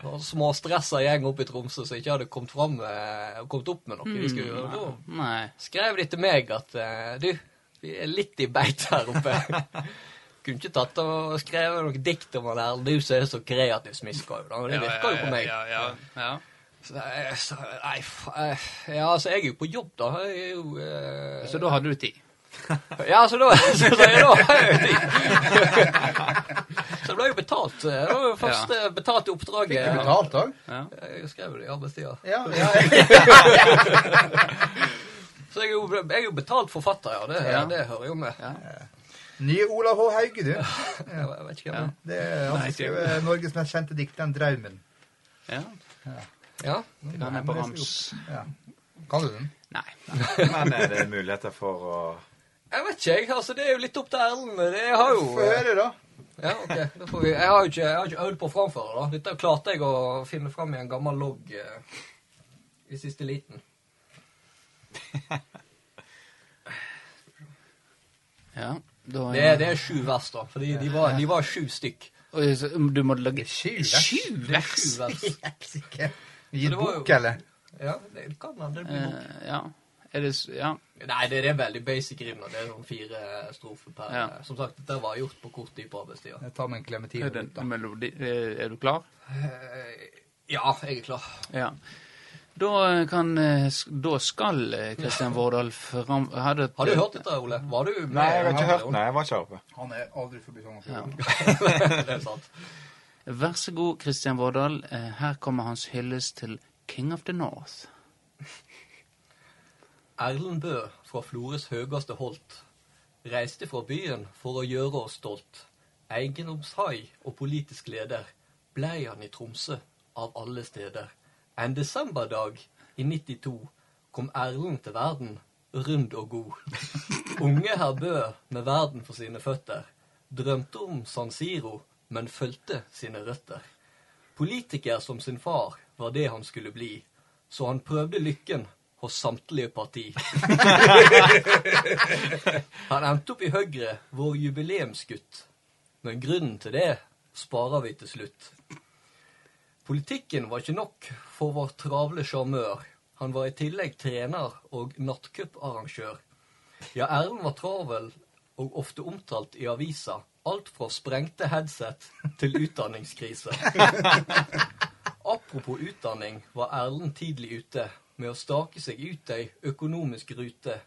[SPEAKER 4] det var en småstressa gjeng oppe i Tromsø som ikke hadde kommet, fram, eh, kommet opp med noe de skulle
[SPEAKER 1] Mm.
[SPEAKER 4] gjøre. Da
[SPEAKER 1] Nei.
[SPEAKER 4] skrev de til meg at eh, du, vi er litt i beit her oppe. Kunne ikke tatt og skrevet noe dikt om han her. Du som er så kreativ, smisker jo. da. Det virker jo på meg.
[SPEAKER 1] Ja, ja, ja.
[SPEAKER 4] Så, jeg- så, nei, fa- eh, ja, altså, jeg er jo på jobb, da. Jeg er jo eh,
[SPEAKER 1] Så da hadde du tid.
[SPEAKER 4] Ja, så da Så, da, da har jeg jo tid. så det ble jo betalt. eh, Det var jo første betalte oppdraget.
[SPEAKER 3] Fikk du betalt òg?
[SPEAKER 1] Ja.
[SPEAKER 4] Jeg skrev det i arbeidstida.
[SPEAKER 3] Ja, ja.
[SPEAKER 4] Så jeg er jo, jeg er jo betalt forfatter, ja. Det,
[SPEAKER 1] Ja.
[SPEAKER 4] det hører jo med.
[SPEAKER 1] Ja.
[SPEAKER 3] Nye Olav H. Hauge, du.
[SPEAKER 4] Jeg, jeg vet ikke hvem
[SPEAKER 3] Det
[SPEAKER 4] det er.
[SPEAKER 3] er han som skrev eh, Norges mest kjente dikt, 'Den draumen'.
[SPEAKER 1] ja.
[SPEAKER 4] Ja.
[SPEAKER 1] Det kan jeg på rams.
[SPEAKER 3] Ja. Kan du den?
[SPEAKER 1] Nei.
[SPEAKER 2] Men er det muligheter for å
[SPEAKER 4] Jeg vet ikke, jeg. altså Det er jo litt opp til Erlend. Jeg har jo eh,
[SPEAKER 3] Få høre, da.
[SPEAKER 4] Ja, ok. Da får vi Jeg har jo ikke, jeg har ikke øvd på å framføre, da. Dette klarte jeg å finne fram i en gammel logg eh, i siste liten.
[SPEAKER 1] Ja. Da,
[SPEAKER 4] Det, det er sju vers, da. Fordi de var, de var sju stykk.
[SPEAKER 1] Oi, så um, Du må lage
[SPEAKER 3] Sju
[SPEAKER 1] sju
[SPEAKER 4] Det er
[SPEAKER 1] vers?
[SPEAKER 4] sju vers.
[SPEAKER 3] Helsike. Vi gir
[SPEAKER 4] Så det var jo-
[SPEAKER 3] bok, eller?
[SPEAKER 4] Ja, det kan hende det blir bok.
[SPEAKER 1] Eh, ja. Er det s- Ja.
[SPEAKER 4] Nei, det det er veldig basic rim. da. Det er sånn fire strofer per
[SPEAKER 1] Ja.
[SPEAKER 4] Som sagt, dette var gjort på kort tid på arbeidstida.
[SPEAKER 3] Jeg tar med en klementin.
[SPEAKER 1] Er, det, en melodi, er er du klar?
[SPEAKER 4] Eh, Ja, jeg er klar.
[SPEAKER 1] Ja. Da, eh, kan, eh, s- da skal eh, Kristian Vårdal fram... Hadde et,
[SPEAKER 4] Har du hørt dette, Ole? Var du med?
[SPEAKER 2] Nei, jeg har ikke hørt den. Jeg var ikke oppe.
[SPEAKER 3] Han er aldri forbi sånn.
[SPEAKER 1] Ja.
[SPEAKER 4] det er sant.
[SPEAKER 1] Vær så god, Kristian Vårdal. eh, Her kommer hans hyllest til King of the North.
[SPEAKER 4] Erlend Bø fra Flores høgaste holt reiste fra byen for å gjøre oss stolt. Eiendomshai og politisk leder blei han i Tromsø av alle steder. En desemberdag i 92 kom Erlend til verden, rund og god. Unge herr Bø med verden for sine føtter drømte om San Siro, men fulgte sine røtter. Politiker som sin far var det han skulle bli, så han prøvde lykken hos samtlige parti. han endte opp i Høyre, vår jubileumsgutt. Men grunnen til det sparer vi til slutt. Politikken var ikke nok for vår travle sjarmør. Han var i tillegg trener og nattcuparrangør. Ja, Erlend var travel og ofte omtalt i avisa. Alt fra sprengte headset til utdanningskrise. Apropos utdanning var Erlend tidlig ute med å stake seg ut ei økonomisk rute.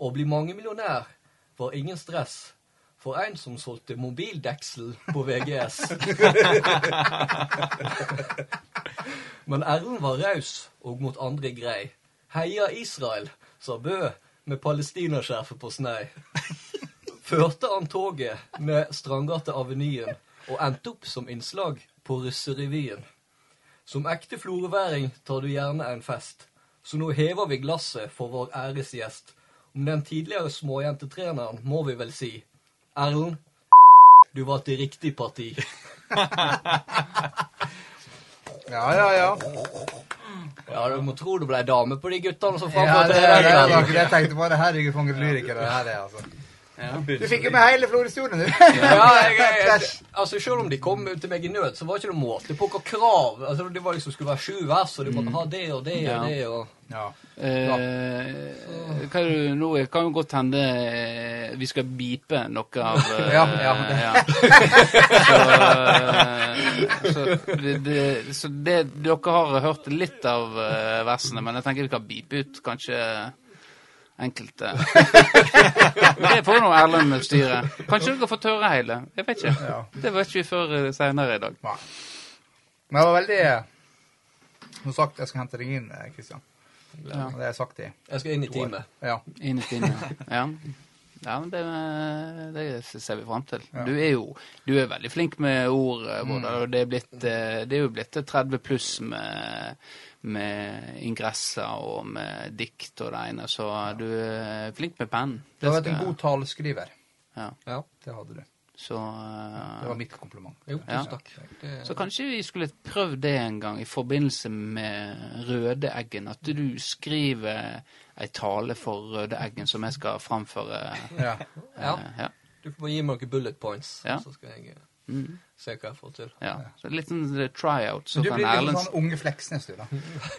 [SPEAKER 4] Å bli mangemillionær var ingen stress for en som solgte mobildeksel på VGS. Men Erlend var raus og mot andre grei. Heia Israel, sa Bø med palestinaskjerfet på snei. Førte han toget med Strandgate-avenyen og endte opp som innslag på Russerevyen. Som ekte floreværing tar du gjerne en fest, så nå hever vi glasset for vår æresgjest. Om den tidligere småjentetreneren må vi vel si Erlend, du var til riktig parti.
[SPEAKER 3] Ja, ja, ja.
[SPEAKER 4] Ja, du må tro det ble dame på de guttene som
[SPEAKER 3] Ja,
[SPEAKER 4] framførte
[SPEAKER 3] det,
[SPEAKER 4] det.
[SPEAKER 3] det,
[SPEAKER 4] der
[SPEAKER 3] det, var
[SPEAKER 4] kvelden.
[SPEAKER 3] ikke det jeg tenkte bare herregud, for en lyriker det her er, altså. Du fikk jo med hele Florø-historien, du.
[SPEAKER 4] Ja, jeg, jeg, jeg, altså Selv om de kom til meg i nød, så var det ikke noe måte på hva krav altså Det var liksom skulle være sju vers, og du måtte ha det og det og
[SPEAKER 1] Mm. Ja.
[SPEAKER 4] det og
[SPEAKER 3] Ja.
[SPEAKER 1] Eh, hva er det nå Det kan jo godt hende eh, vi skal bipe noe av eh,
[SPEAKER 3] Ja, ja, det-
[SPEAKER 1] ja. Så, eh, så, det, det, så det, dere har hørt litt av eh, versene, men jeg tenker vi kan bipe ut kanskje enkelte. Det får nå Erlend styre. Kanskje dere får tørre hele. Jeg vet ikke.
[SPEAKER 3] Ja.
[SPEAKER 1] Det vet ikke vi før eh, senere i dag.
[SPEAKER 3] Nei. Men det var veldig eh, Som sagt, jeg skal hente deg inn, eh, Kristian.
[SPEAKER 1] Ja.
[SPEAKER 3] Det har jeg sagt i.
[SPEAKER 4] Jeg skal inn i teamet.
[SPEAKER 3] Ja.
[SPEAKER 1] Innerst inne. Ja. Ja, men det, det ser vi fram til. Du er jo du er veldig flink med ord, eh, Vårdal. Og det er, blitt, eh, det er jo blitt 30 pluss med, med ingresser og med dikt og det ene, så du er flink med penn.
[SPEAKER 3] Du har vært en god taleskriver.
[SPEAKER 1] ja.
[SPEAKER 4] Ja.
[SPEAKER 3] Det hadde du.
[SPEAKER 1] Så, eh,
[SPEAKER 3] Det var mitt kompliment.
[SPEAKER 4] Jo,
[SPEAKER 1] Ja.
[SPEAKER 4] tusen takk. Det-
[SPEAKER 1] så kanskje vi skulle prøvd det en gang i forbindelse med Rødeeggen. At du skriver ei tale for Rødeeggen som jeg skal framføre.
[SPEAKER 3] Ja.
[SPEAKER 1] eh,
[SPEAKER 4] Ja.
[SPEAKER 1] ja.
[SPEAKER 4] Du får bare gi meg noen bullet points,
[SPEAKER 1] Ja.
[SPEAKER 4] så skal jeg eh,
[SPEAKER 1] Mm,
[SPEAKER 4] se hva jeg får til.
[SPEAKER 1] ja. Så en liten sånn, tryout, så
[SPEAKER 3] Men du
[SPEAKER 1] kan
[SPEAKER 3] blir litt
[SPEAKER 1] Erlend
[SPEAKER 3] sånn unge Fleksnes, du, da.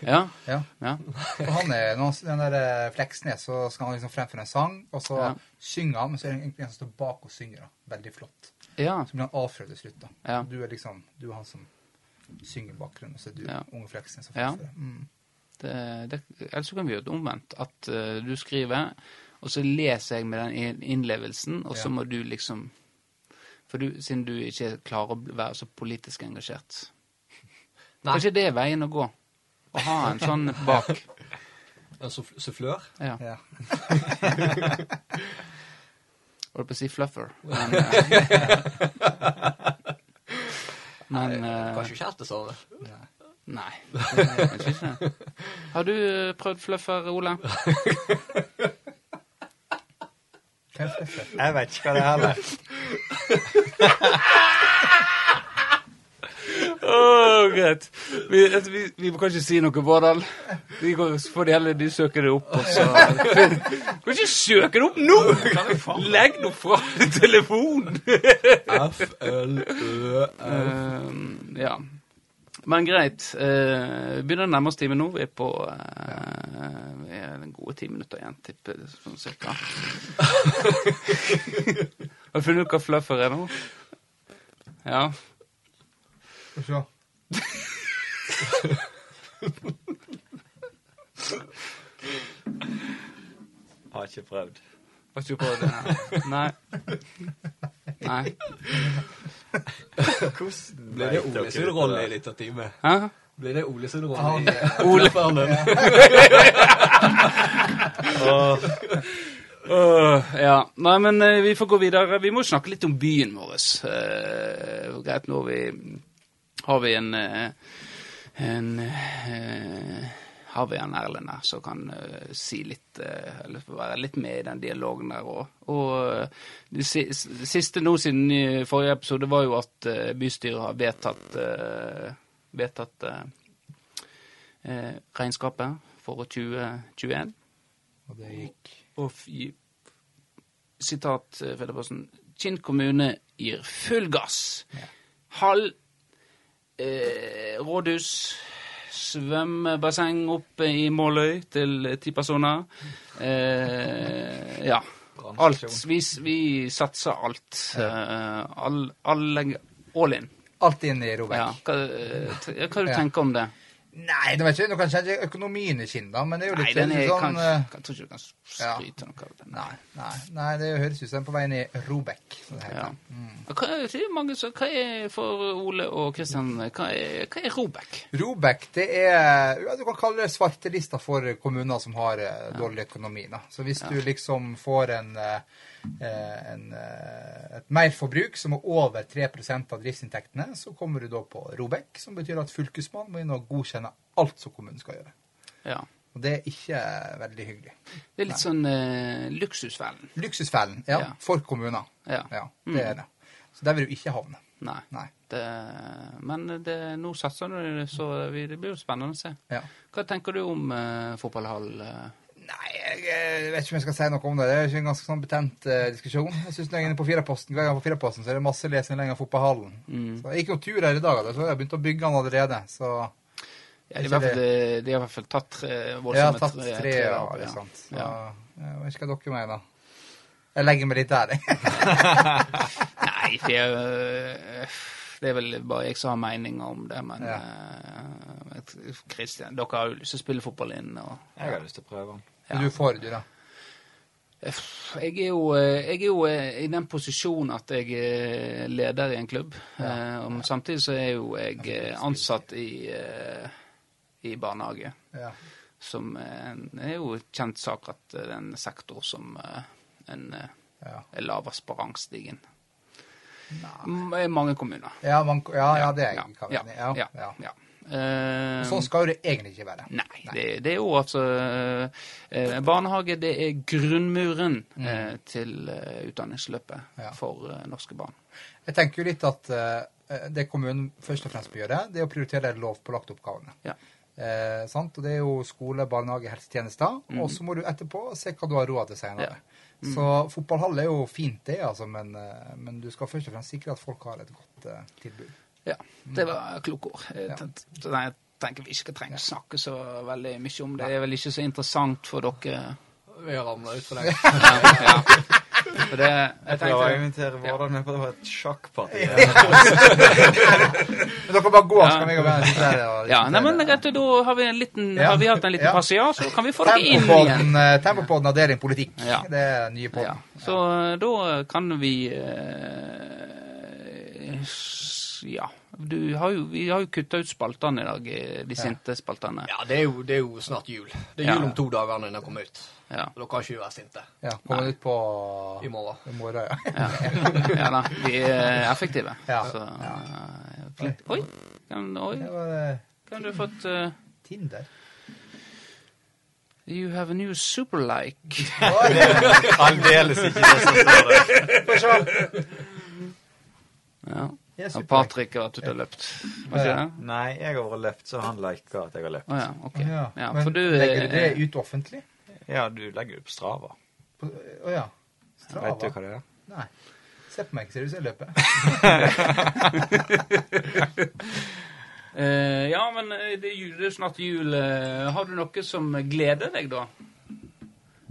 [SPEAKER 1] ja,
[SPEAKER 3] Ja.
[SPEAKER 1] ja.
[SPEAKER 3] For han er, når han- den der eh, Fleksnes, så skal han liksom fremføre en sang, og så
[SPEAKER 1] Ja.
[SPEAKER 3] synger han, men så er det egentlig en som står bak og synger. da. Veldig flott.
[SPEAKER 1] ja.
[SPEAKER 3] Så blir han avfrødd til slutt, da.
[SPEAKER 1] Ja.
[SPEAKER 3] Du er liksom, du er han som synger i bakgrunnen, og så er du
[SPEAKER 1] Ja.
[SPEAKER 3] unge Fleksnes som
[SPEAKER 1] Ja.
[SPEAKER 3] fremfører. Mm.
[SPEAKER 1] Det, det, ellers så kan vi gjøre det omvendt. At eh, du skriver, og så leser jeg med den inn- innlevelsen, og så
[SPEAKER 3] Ja.
[SPEAKER 1] må du liksom for du, Siden du ikke klarer å bli- være så politisk engasjert.
[SPEAKER 4] Nei.
[SPEAKER 1] Kanskje det er veien å gå? Å ha en sånn bak.
[SPEAKER 4] En suff- sufflør?
[SPEAKER 1] Ja.
[SPEAKER 3] Ja.
[SPEAKER 1] Holdt på å si fluffer. Men, eh, men eh,
[SPEAKER 4] Kanskje kjæreste sa det.
[SPEAKER 1] Nei. Kanskje ikke det. Har du eh, prøvd fluffer, Ole?
[SPEAKER 3] Hva er fluffer?
[SPEAKER 2] Jeg vet ikke hva det er heller.
[SPEAKER 1] Åh, greit. Vi, altså, vi, vi må kanskje si noe, Vårdal. Vi går, for de heller, de søker det opp, og så Kan ikke søke det opp nå! Legg nå fra deg telefonen!
[SPEAKER 4] FLØ
[SPEAKER 1] Eh, ja. Men greit. eh, vi begynner å nærme oss timen nå. Vi er på eh, vi er en gode ti minutter igjen, tipper jeg, sånn cirka. Har du funnet ut hva fluffer er nå? Ja.
[SPEAKER 3] Skal vi se.
[SPEAKER 2] Har ikke prøvd.
[SPEAKER 1] Var ikke på det? Nei. Nei.
[SPEAKER 2] Hvordan
[SPEAKER 4] Blir det Ole sin rolle i liten time?
[SPEAKER 1] Hæ?
[SPEAKER 4] Blir det Ole sin
[SPEAKER 3] Ah,
[SPEAKER 4] rolle i eh,
[SPEAKER 3] ok.
[SPEAKER 1] Ole. Åh, ja. Nei, men eh, vi får gå videre. Vi må snakke litt om byen vår. Eh, greit, nå har vi, har vi en, eh, en eh, Har vi en Erlend her som kan eh, si litt eh, Eller få være litt med i den dialogen der òg. Og eh, det si- siste nå siden i forrige episode var jo at eh, bystyret har vedtatt eh, vedtatt eh, eh, regnskapet for 2021.
[SPEAKER 3] Og det gikk
[SPEAKER 1] Og fy- sitat eh, Fedderposten Kinn kommune gir full gass. Halv eh, rådhus, svømmebasseng oppe i Måløy til eh, ti personer. Eh, ja. Alt. Vi, s- vi satser alt. Eh, all, alle All in.
[SPEAKER 3] alt inn i Robek.
[SPEAKER 1] Ja. Hva, eh, t- ja, hva du
[SPEAKER 3] Ja.
[SPEAKER 1] tenker om det?
[SPEAKER 3] Nei, nå vet jeg ikke, nå kan jeg ikke økonomien i Kinn, da, men det er jo
[SPEAKER 1] Nei,
[SPEAKER 3] litt
[SPEAKER 1] den er
[SPEAKER 3] sånn
[SPEAKER 1] kanskje
[SPEAKER 3] eh,
[SPEAKER 1] Jeg tror ikke du kan
[SPEAKER 3] ja.
[SPEAKER 1] skryte noe av den.
[SPEAKER 3] Nei, nei, nei, det høres ut som den er på vei inn i Robek. som det heter. Mm.
[SPEAKER 1] Ja. Hva, er- det er mange som, hva er for Ole og Kristian Hva er, hva er Robek?
[SPEAKER 3] Robek, det er ja, Du kan kalle det svartelista for kommuner som har eh, dårlig økonomi. Da. Så hvis du liksom får en, eh, eh, en, eh, et merforbruk som er over 3 av driftsinntektene, så kommer du da på Robek, som betyr at fylkesmannen må inn og godkjenne alt som kommunen skal gjøre.
[SPEAKER 1] Ja.
[SPEAKER 3] Og det er ikke eh, veldig hyggelig.
[SPEAKER 1] Det er litt sånn eh, luksusfellen.
[SPEAKER 3] Luksusfellen, ja,
[SPEAKER 1] Ja.
[SPEAKER 3] for kommuner.
[SPEAKER 1] Ja.
[SPEAKER 3] Ja, det er det. Så der vil du ikke havne.
[SPEAKER 1] Nei.
[SPEAKER 3] Nei.
[SPEAKER 1] Det, men det, nå satser du, så vi, det blir jo spennende å se.
[SPEAKER 3] Ja.
[SPEAKER 1] Hva tenker du om eh, fotballhall? eh?
[SPEAKER 3] Nei, jeg, eh, vet ikke om jeg skal si noe om det. Det er jo en ganske sånn betent eh, diskusjon. Jeg synes når jeg er inne på Firaposten, Hver gang jeg er på Firaposten, så er det masse lesing lenger opp på hallen.
[SPEAKER 1] Mm.
[SPEAKER 3] Så jeg gikk noen tur her i dag, da, så jeg har begynt å bygge den allerede. Så
[SPEAKER 1] Ja, de, har i
[SPEAKER 3] Ikke
[SPEAKER 1] hvert fall, de har i hvert fall tatt tre
[SPEAKER 3] jeg
[SPEAKER 1] voldsomme
[SPEAKER 3] har tatt
[SPEAKER 1] tre-
[SPEAKER 3] tre
[SPEAKER 1] treer
[SPEAKER 3] av
[SPEAKER 1] opp,
[SPEAKER 3] det,
[SPEAKER 1] ja.
[SPEAKER 3] sant. Så
[SPEAKER 1] Ja.
[SPEAKER 3] jeg vet ikke hva dere mener. Jeg legger meg litt der, jeg.
[SPEAKER 1] Nei, for jeg, øh, det er vel bare jeg som har meninger om det, men
[SPEAKER 3] Ja.
[SPEAKER 1] øh, Christian, dere har jo lyst til å spille fotball inn, og
[SPEAKER 2] Jeg har lyst til å prøve den.
[SPEAKER 1] Ja.
[SPEAKER 3] Du får du, da.
[SPEAKER 1] Uff, Jeg er, jo, eh, jeg er jo eh, i den posisjonen at jeg er leder i en klubb. eh, og samtidig så er jo jeg eh, ansatt i, eh, i barnehage,
[SPEAKER 3] Ja.
[SPEAKER 1] som eh, er jo et kjent sak at eh, det er en sektor som eh, en, eh,
[SPEAKER 3] Ja.
[SPEAKER 1] er lavest på rangstigen. M- i Mange kommuner.
[SPEAKER 3] Ja, man, ja, ja, det er jeg
[SPEAKER 1] ja,
[SPEAKER 3] ikke enig i. Ja, ja.
[SPEAKER 1] ja. Eh,
[SPEAKER 3] Sånn skal jo det egentlig ikke være.
[SPEAKER 1] Nei, det, det er jo altså eh, Barnehage det er grunnmuren eh, til eh, utdanningsløpet
[SPEAKER 3] Ja.
[SPEAKER 1] for eh, norske barn.
[SPEAKER 3] Jeg tenker jo litt at eh, det kommunen først og fremst bør gjøre, det er å prioritere lovpålagte oppgavene.
[SPEAKER 1] Ja.
[SPEAKER 3] Eh, sant? Og det er jo skole, barnehage, helsetjenester.
[SPEAKER 1] Mm.
[SPEAKER 3] Og så må du etterpå se hva du har råd til senere. Så fotballhall er jo fint, det, altså, men, eh, men du skal først og fremst sikre at folk har et godt eh, tilbud.
[SPEAKER 1] ja. Mm. Det var kloke ord. Jeg
[SPEAKER 3] Ja.
[SPEAKER 1] tenkte- så Nei, jeg tenker vi ikke trenger å snakke så veldig mye om det. Det er vel ikke så interessant for dere.
[SPEAKER 4] Vi har ramla ut for lenge.
[SPEAKER 1] Ja. ja. For det, jeg
[SPEAKER 2] Jeg prøver å
[SPEAKER 1] tenkte,
[SPEAKER 2] invitere Vårdal med på et sjakkparti.
[SPEAKER 3] Men dere bare gå, så
[SPEAKER 1] Ja.
[SPEAKER 3] kan jeg og Bjørn sitte der og
[SPEAKER 1] ja, nei, men
[SPEAKER 3] diskutere.
[SPEAKER 1] rett og da har vi, en liten,
[SPEAKER 3] Ja.
[SPEAKER 1] har vi hatt en liten
[SPEAKER 3] Ja.
[SPEAKER 1] passiar, så kan vi få dere inn igjen.
[SPEAKER 3] Tempopodden, eh, Tempopodden avdeling politikk.
[SPEAKER 1] Ja.
[SPEAKER 3] Det er den nye
[SPEAKER 1] Ja.
[SPEAKER 3] podden.
[SPEAKER 1] Så eh, da kan vi eh, s- Ja. Du har jo, vi har jo kutta ut spaltene i dag, eh, de sinte spaltene.
[SPEAKER 4] Ja, det er, jo, det er jo snart jul. Det er
[SPEAKER 1] Ja.
[SPEAKER 4] jul om to dager når den kommer ut.
[SPEAKER 1] Ja.
[SPEAKER 4] Da kan ikke vi være sinte.
[SPEAKER 3] Ja, Kommer ut på
[SPEAKER 4] I morgen.
[SPEAKER 3] I morgen, ja.
[SPEAKER 1] Ja, ja da. Vi er effektive.
[SPEAKER 3] Ja.
[SPEAKER 1] Så, eh, flink. Oi. Kan, oi.
[SPEAKER 3] Det var eh,
[SPEAKER 1] Kan du fått eh,
[SPEAKER 3] Tinder.
[SPEAKER 1] You have a new superlike.
[SPEAKER 2] Aldeles ikke det som står der.
[SPEAKER 3] Få se.
[SPEAKER 1] Ja.
[SPEAKER 3] Jeg er
[SPEAKER 1] Og
[SPEAKER 3] superlike.
[SPEAKER 1] Patrick har vært ute og løpt. Var ikke det?
[SPEAKER 2] Nei, jeg har vært løpt, så han liker at jeg har løpt.
[SPEAKER 1] Å ja, ok.
[SPEAKER 3] Ja.
[SPEAKER 1] Ja,
[SPEAKER 3] Men
[SPEAKER 1] for du eh,
[SPEAKER 3] legger du det ut offentlig?
[SPEAKER 2] Ja, du legger jo på Strava.
[SPEAKER 3] På- Å ja. Strava?
[SPEAKER 2] Vet du hva det er?
[SPEAKER 3] Nei. Se på meg, ser du som jeg løper?
[SPEAKER 1] eh, Ja, men eh, det er jul- det er jo snart jul. eh, Har du noe som gleder deg, da?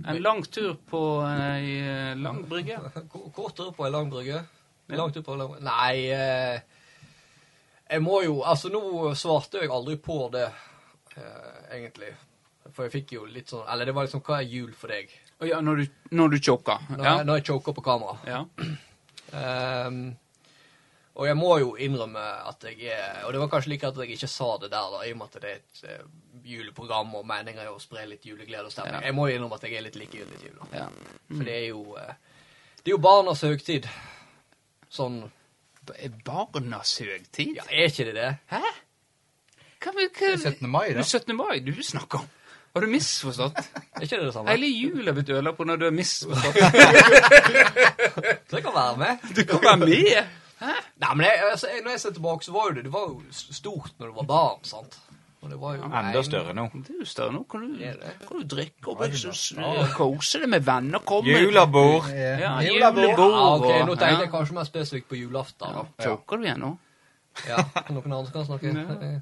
[SPEAKER 1] En lang tur på ei eh, lang brygge?
[SPEAKER 4] Ko- Kort tur på ei lang brygge. Langt ut på en lang brygge. Nei eh, Jeg må jo Altså, nå svarte jeg aldri på det, eh, egentlig. For jeg fikk jo litt sånn Eller det var liksom Hva er jul for deg?
[SPEAKER 1] Å ja, når du, når du choker?
[SPEAKER 4] Når,
[SPEAKER 1] Ja.
[SPEAKER 4] jeg, når jeg choker på kamera.
[SPEAKER 1] ja.
[SPEAKER 4] Ehm, og jeg må jo innrømme at jeg er Og det var kanskje like at jeg ikke sa det der, da, i og med at det er et eh, juleprogram og meninga er å spre litt juleglede og stemning.
[SPEAKER 1] Ja. Mm.
[SPEAKER 4] Jeg må jo innrømme at jeg er litt likegyldig til jul. da.
[SPEAKER 1] ja.
[SPEAKER 4] For det er jo eh, Det er jo barnas høgtid. Sånn
[SPEAKER 1] Det er barnas høgtid?
[SPEAKER 4] Ja, er ikke det det?
[SPEAKER 1] Hæ? Hva, hva, hva,
[SPEAKER 3] Det er 17. mai,
[SPEAKER 1] Det
[SPEAKER 3] da.
[SPEAKER 1] er 17. mai du snakker om? Har du misforstått?
[SPEAKER 4] Er ikke det det samme?
[SPEAKER 1] Hele jula er blitt ødelagt på når du har misforstått.
[SPEAKER 4] Så jeg kan være med.
[SPEAKER 1] Du kan være med!
[SPEAKER 4] Nei, men jeg, altså, jeg, når jeg ser tilbake, så var jo det Det var jo s- stort når du var barn, sant? Og det var jo
[SPEAKER 2] Enda større nå.
[SPEAKER 1] Det er jo større nå. Kan du,
[SPEAKER 4] Er det?
[SPEAKER 1] kan du drikke opp og kose deg med venner? Komme
[SPEAKER 2] Julebord.
[SPEAKER 1] Ja,
[SPEAKER 3] Eh,
[SPEAKER 1] julebord.
[SPEAKER 4] Ja, ok, nå
[SPEAKER 1] og-
[SPEAKER 4] tenkte jeg kanskje mer spesifikt på julaften. da.
[SPEAKER 1] Choker du igjen nå?
[SPEAKER 4] Ja, noen andre kan snakke. Eh,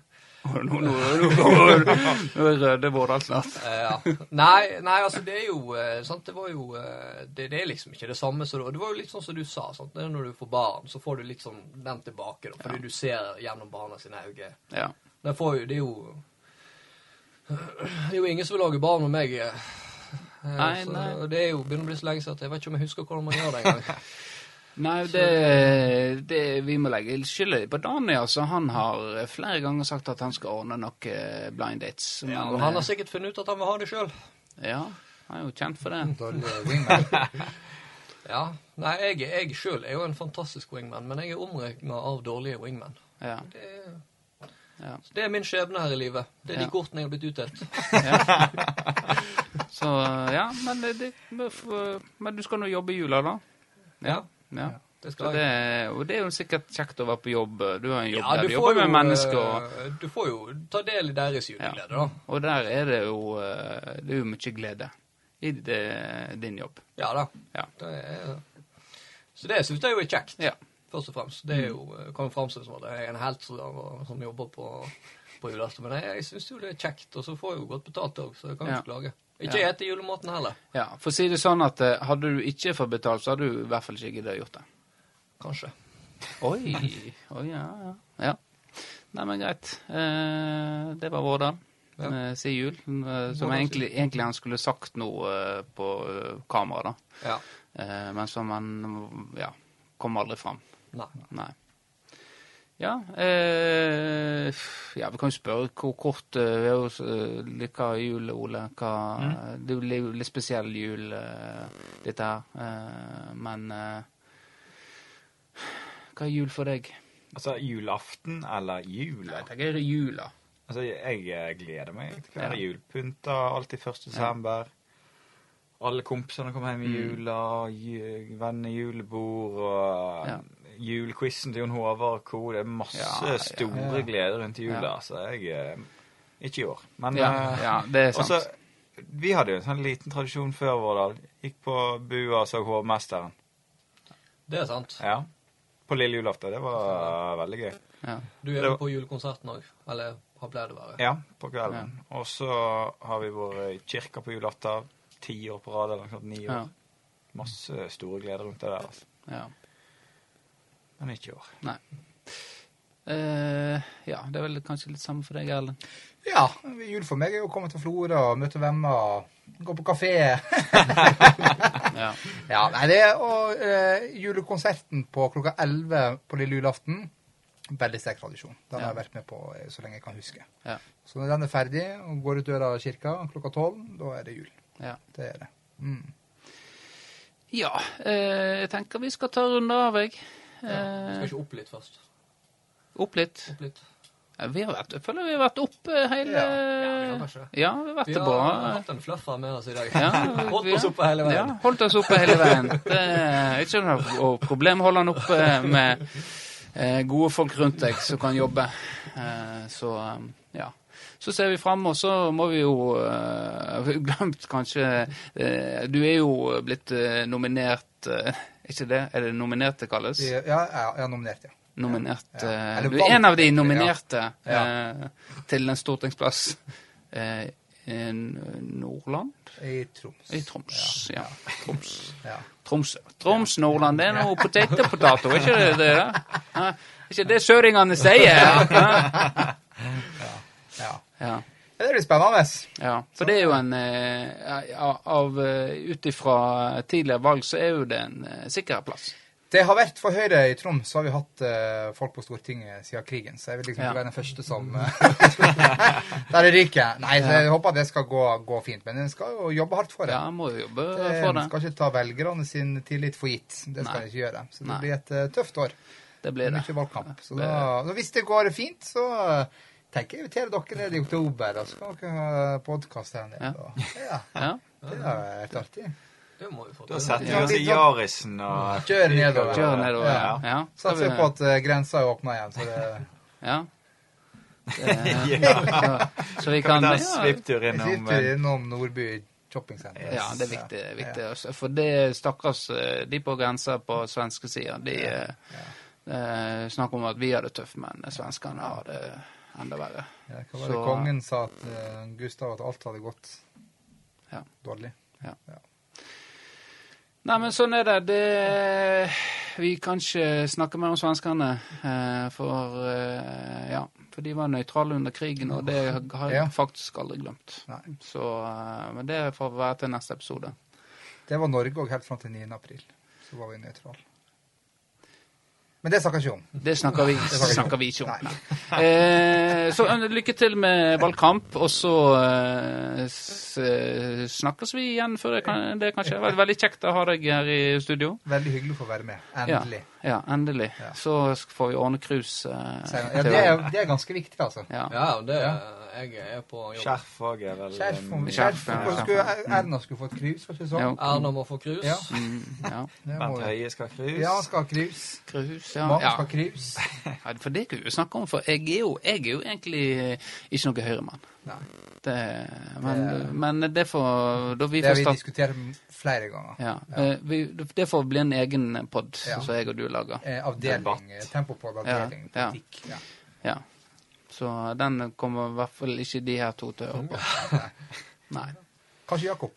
[SPEAKER 1] Å, Nå, nå, nå, kommer- nå er Røde Vårdal snart.
[SPEAKER 4] Eh, ja. nei, nei, altså det er jo eh, sant, Det var jo eh, det, det er liksom ikke det samme som det var. Det var jo litt sånn som du sa. sant, det er Når du får barn, så får du litt sånn den tilbake. da, Fordi du ser gjennom barna sine øyne.
[SPEAKER 1] Ja.
[SPEAKER 4] Den får jo, det er jo Det er jo ingen som vil lage barn med meg. eh. Eh,
[SPEAKER 1] Nei,
[SPEAKER 4] så,
[SPEAKER 1] nei.
[SPEAKER 4] Og det er jo begynner å bli så lenge siden at jeg vet ikke om jeg husker hvordan man gjør det engang.
[SPEAKER 1] Nei, det, det Vi må legge skylda på Dani, altså. Han har flere ganger sagt at han skal ordne noe blind dates.
[SPEAKER 4] Ja,
[SPEAKER 1] men,
[SPEAKER 4] men han
[SPEAKER 1] eh,
[SPEAKER 4] har sikkert funnet ut at han vil ha det sjøl.
[SPEAKER 1] ja, han er jo kjent for det.
[SPEAKER 3] Dårlig wingman.
[SPEAKER 4] Ja. Nei, jeg, jeg sjøl er jo en fantastisk wingman, men jeg er omregna av dårlige wingman.
[SPEAKER 1] Ja.
[SPEAKER 4] Det er,
[SPEAKER 1] Ja.
[SPEAKER 4] det er min skjebne her i livet. Det er
[SPEAKER 1] Ja.
[SPEAKER 4] de kortene jeg har blitt utdelt.
[SPEAKER 1] Så ja, men, det- det, men f- men du skal nå jobbe i jula, da?
[SPEAKER 4] Ja,
[SPEAKER 1] Ja.
[SPEAKER 4] det
[SPEAKER 1] Så
[SPEAKER 4] skal
[SPEAKER 1] det,
[SPEAKER 4] jeg.
[SPEAKER 1] og det er jo sikkert kjekt å være på jobb. Du har en jobb
[SPEAKER 4] Ja,
[SPEAKER 1] der
[SPEAKER 4] du
[SPEAKER 1] du
[SPEAKER 4] får
[SPEAKER 1] jobber
[SPEAKER 4] jo,
[SPEAKER 1] med mennesker. og-
[SPEAKER 4] eh, du får jo ta del i deres juleglede, da.
[SPEAKER 1] Og der er det jo eh, Det er jo mye glede i det, din jobb.
[SPEAKER 4] Ja da.
[SPEAKER 1] Ja.
[SPEAKER 4] Det er, så det syns jeg jo er kjekt,
[SPEAKER 1] Ja.
[SPEAKER 4] først og fremst. Det er jo, eh, kan jo framstå som at jeg er en helt som- som jobber på, på julaften, men jeg, jeg syns jo det er kjekt, og så får jeg jo godt betalt òg, så jeg kan jo
[SPEAKER 1] Ja.
[SPEAKER 4] ikke klage. Ikke
[SPEAKER 1] Ja.
[SPEAKER 4] ete julematen heller.
[SPEAKER 1] Ja, For å si det sånn at eh, hadde du ikke fått betalt, så hadde du i hvert fall ikke giddet å gjort det.
[SPEAKER 4] Kanskje.
[SPEAKER 1] Oi. Oi, ja, ja. ja. Nei, men greit. Eh, det var vår dag.
[SPEAKER 4] Ja.
[SPEAKER 1] Eh, si jul. Eh, som
[SPEAKER 4] Vårdag, si
[SPEAKER 1] egentlig, egentlig han skulle sagt noe eh, på eh, kamera, da.
[SPEAKER 4] Ja.
[SPEAKER 1] Eh, men som han Ja. Kom aldri fram.
[SPEAKER 4] Nei.
[SPEAKER 1] Nei. Ja, eh, ja, vi kan jo spørre hvor kort eh, vi har jo s- eh, liker jul, Ole. Hva, eh, Det er jo li- litt spesiell jul, eh, dette her. Eh, men eh, hva er jul for deg?
[SPEAKER 2] Altså julaften eller jul?
[SPEAKER 1] Jeg tenker jula.
[SPEAKER 2] Altså, jeg, jeg gleder meg til hver jul. Pynta alltid 1. desember. Alle kompisene kommer
[SPEAKER 1] Mm.
[SPEAKER 2] hjem i jula, ju- vennejulebord og
[SPEAKER 1] Ja.
[SPEAKER 2] julequizen til Jon Håvard og co. Det er masse
[SPEAKER 1] Ja, ja.
[SPEAKER 2] store gleder rundt jula, så jeg eh, Ikke i år, men
[SPEAKER 1] Ja,
[SPEAKER 2] eh,
[SPEAKER 1] ja, det er
[SPEAKER 2] og
[SPEAKER 1] sant.
[SPEAKER 2] så, vi hadde jo en sånn liten tradisjon før, Vårdal. Gikk på bua og så Hovmesteren.
[SPEAKER 4] Det er sant.
[SPEAKER 2] Ja. På lille julaften. Det var veldig gøy.
[SPEAKER 1] Ja.
[SPEAKER 4] Du er jo på julekonserten òg. Eller har pleid å være.
[SPEAKER 2] Ja, på kvelden. Og så har vi vært i kirka på julaften. Ti år på rad, eller noe sånt. Ni
[SPEAKER 1] Ja.
[SPEAKER 2] år. Masse store gleder rundt det der. altså.
[SPEAKER 1] ja.
[SPEAKER 2] Men ikke i år.
[SPEAKER 1] Nei. Eh, ja, det er vel kanskje litt samme for deg, Erlend.
[SPEAKER 3] Ja, jul for meg er jo å komme til Florø og møte venner, gå på kafé.
[SPEAKER 1] Ja.
[SPEAKER 3] Ja, nei, det er og, eh, julekonserten på klokka 11 på lille julaften. Veldig sterk tradisjon. Den har jeg vært med på eh, så lenge jeg kan huske.
[SPEAKER 1] Ja.
[SPEAKER 3] Så når den er ferdig og går ut døra av kirka klokka 12, da er det jul.
[SPEAKER 1] Ja.
[SPEAKER 3] Det er det. Mm.
[SPEAKER 1] ja eh, jeg tenker vi skal ta runde av, jeg. Eh,
[SPEAKER 4] Skal ikke opp litt først.
[SPEAKER 1] opp litt.
[SPEAKER 4] Opp litt.
[SPEAKER 1] Ja, vi har vært, jeg føler vi har vært oppe hele eh,
[SPEAKER 4] Ja, vi har kanskje det.
[SPEAKER 1] Ja, vi har vært
[SPEAKER 4] Vi
[SPEAKER 1] det
[SPEAKER 4] har
[SPEAKER 1] bra.
[SPEAKER 4] hatt en fluffer med oss i dag.
[SPEAKER 1] Ja,
[SPEAKER 4] Holdt
[SPEAKER 1] vi-
[SPEAKER 4] oss oppe hele veien.
[SPEAKER 1] Ja, holdt oss oppe hele veien. Det er ikke noe og problem å holde han oppe med eh, gode folk rundt deg som kan jobbe. Eh, så um, ja. Så ser vi fram, og så må vi jo eh, vi har Glemt kanskje eh, Du er jo blitt eh, nominert eh, Ikke det? Er det nominert det kalles?
[SPEAKER 3] Ja, ja, ja, nominert, ja.
[SPEAKER 1] Nominert
[SPEAKER 3] Ja.
[SPEAKER 1] eh,
[SPEAKER 3] Eller
[SPEAKER 1] Du er en av de
[SPEAKER 3] valgt, egentlig, ja.
[SPEAKER 1] nominerte
[SPEAKER 3] Ja.
[SPEAKER 1] eh, til en stortingsplass eh, i Nordland?
[SPEAKER 3] I Troms.
[SPEAKER 1] I Troms, ja. Troms.
[SPEAKER 3] Ja.
[SPEAKER 1] Tromsø. Troms, Nordland, det er noe potetpotato, er ikke det det? da? Hæ? Er ikke det søringene sier? Hæ?
[SPEAKER 3] ja.
[SPEAKER 1] Ja,
[SPEAKER 3] Det blir spennende.
[SPEAKER 1] ja. For det er jo en eh, av- Av eh, Ut ifra tidligere valg, så er jo det en eh, sikker plass.
[SPEAKER 3] Det har vært for Høyre i Troms, så har vi hatt eh, folk på Stortinget siden krigen. Så jeg vil liksom
[SPEAKER 1] Ja.
[SPEAKER 3] ikke være den første som eh, Der ryker jeg. Nei, så jeg håper at det skal gå, gå fint. Men en skal jo jobbe hardt for det.
[SPEAKER 1] Ja, må jo jobbe
[SPEAKER 3] det
[SPEAKER 1] for
[SPEAKER 3] en
[SPEAKER 1] det.
[SPEAKER 3] skal ikke ta velgerne sin tillit for gitt. Det skal
[SPEAKER 1] Nei.
[SPEAKER 3] en ikke gjøre. Så det
[SPEAKER 1] Nei.
[SPEAKER 3] blir et eh, tøft år.
[SPEAKER 1] Det
[SPEAKER 3] Det
[SPEAKER 1] blir det.
[SPEAKER 3] Mye valgkamp. Så
[SPEAKER 1] Det-
[SPEAKER 3] da, så hvis det går fint, så eh, tenker jeg å invitere dere ned i oktober, og så kan dere ha podkast her nede.
[SPEAKER 1] Ja.
[SPEAKER 3] og- Ja.
[SPEAKER 1] Ja.
[SPEAKER 3] Det har vært artig.
[SPEAKER 4] Det må vi få
[SPEAKER 2] Da
[SPEAKER 4] til.
[SPEAKER 2] setter vi
[SPEAKER 3] Ja,
[SPEAKER 2] oss i
[SPEAKER 3] litt sånn-
[SPEAKER 2] Yarisen og
[SPEAKER 3] Kjør nedover.
[SPEAKER 1] Kjør nedover. Ja.
[SPEAKER 3] Ja.
[SPEAKER 1] ja. Skal
[SPEAKER 3] Satser
[SPEAKER 1] vi-
[SPEAKER 3] på at eh, grensa er åpna igjen. Så det,
[SPEAKER 1] Ja. Det-
[SPEAKER 2] Ja,
[SPEAKER 1] så- Så vi
[SPEAKER 2] Kan
[SPEAKER 1] kan
[SPEAKER 2] vi ta en
[SPEAKER 1] ja,
[SPEAKER 2] svipptur
[SPEAKER 3] jeg
[SPEAKER 2] innom
[SPEAKER 3] sitter
[SPEAKER 2] eh,
[SPEAKER 3] innom Nordby Shopping Center.
[SPEAKER 1] Ja, det er viktig. viktig. også. For det stakkars eh, de på grensa på svenske sida, de eh, eh, snakker om at vi har det tøft, men svenskene har det enda verre.
[SPEAKER 3] Ja, hva var det
[SPEAKER 1] Så-
[SPEAKER 3] kongen sa at eh, Gustav at alt hadde gått
[SPEAKER 1] Ja.
[SPEAKER 3] dårlig?
[SPEAKER 1] Nei, men sånn er det. det vi kan ikke snakke mer om svenskene, eh, for eh, ja, for de var nøytrale under krigen, og det har
[SPEAKER 3] Ja.
[SPEAKER 1] jeg faktisk aldri glemt.
[SPEAKER 3] Nei.
[SPEAKER 1] Så, eh, men det får være til neste episode.
[SPEAKER 3] Det var Norge òg helt fram til 9. april. Så var vi nøytrale. Men det snakker jeg ikke om.
[SPEAKER 1] Det snakker vi, snakker vi ikke om.
[SPEAKER 3] Nei.
[SPEAKER 1] Eh, så eh, lykke til med valgkamp, og så eh, s eh, snakkes vi igjen før det, kan, det kanskje. Veldig, veldig kjekt å ha deg her i studio.
[SPEAKER 3] Veldig hyggelig å få være med. Endelig.
[SPEAKER 1] Ja, endelig.
[SPEAKER 3] Ja.
[SPEAKER 1] Så sk- får vi ordne cruise.
[SPEAKER 3] Ja,
[SPEAKER 1] Eh,
[SPEAKER 3] ja,
[SPEAKER 1] til-
[SPEAKER 3] det, er, det er ganske viktig, altså.
[SPEAKER 1] ja.
[SPEAKER 4] Ja, det Jeg er på jobb.
[SPEAKER 2] Skjerf òg er vel
[SPEAKER 3] Skjerf om
[SPEAKER 2] en-
[SPEAKER 1] Skjerf,
[SPEAKER 3] skjerf.
[SPEAKER 1] ja,
[SPEAKER 3] hvorfor
[SPEAKER 1] skjerf.
[SPEAKER 3] skulle- Erna skulle fått krus, var det ikke
[SPEAKER 1] Jo.
[SPEAKER 3] sånn?
[SPEAKER 4] Erna må få krus.
[SPEAKER 3] Ja.
[SPEAKER 1] Mm, ja.
[SPEAKER 3] Det må
[SPEAKER 2] Bent
[SPEAKER 3] jo-
[SPEAKER 2] Høie skal krus.
[SPEAKER 3] Ja, han skal ha krus.
[SPEAKER 1] Cruise, ja.
[SPEAKER 3] Mannen skal
[SPEAKER 1] ja.
[SPEAKER 3] ha krus.
[SPEAKER 1] Ja, For det kan vi jo snakke om, for jeg er jo, jeg er jo egentlig ikke noe høyremann.
[SPEAKER 3] Nei.
[SPEAKER 1] Det, men, men det får Da vi
[SPEAKER 3] Det har
[SPEAKER 1] får
[SPEAKER 3] vi
[SPEAKER 1] starte
[SPEAKER 3] diskutert flere ganger.
[SPEAKER 1] Ja. eh, Vi, det får bli en egen pod
[SPEAKER 3] Ja.
[SPEAKER 1] som jeg og du lager.
[SPEAKER 3] Eh, avdeling,
[SPEAKER 2] Debatt.
[SPEAKER 3] eh, tempo på avdeling,
[SPEAKER 1] Ja, ja.
[SPEAKER 3] politikk. Ja.
[SPEAKER 1] Ja. Så den kommer i hvert fall ikke de her to til å høre på. Nei.
[SPEAKER 3] Kanskje Jakob.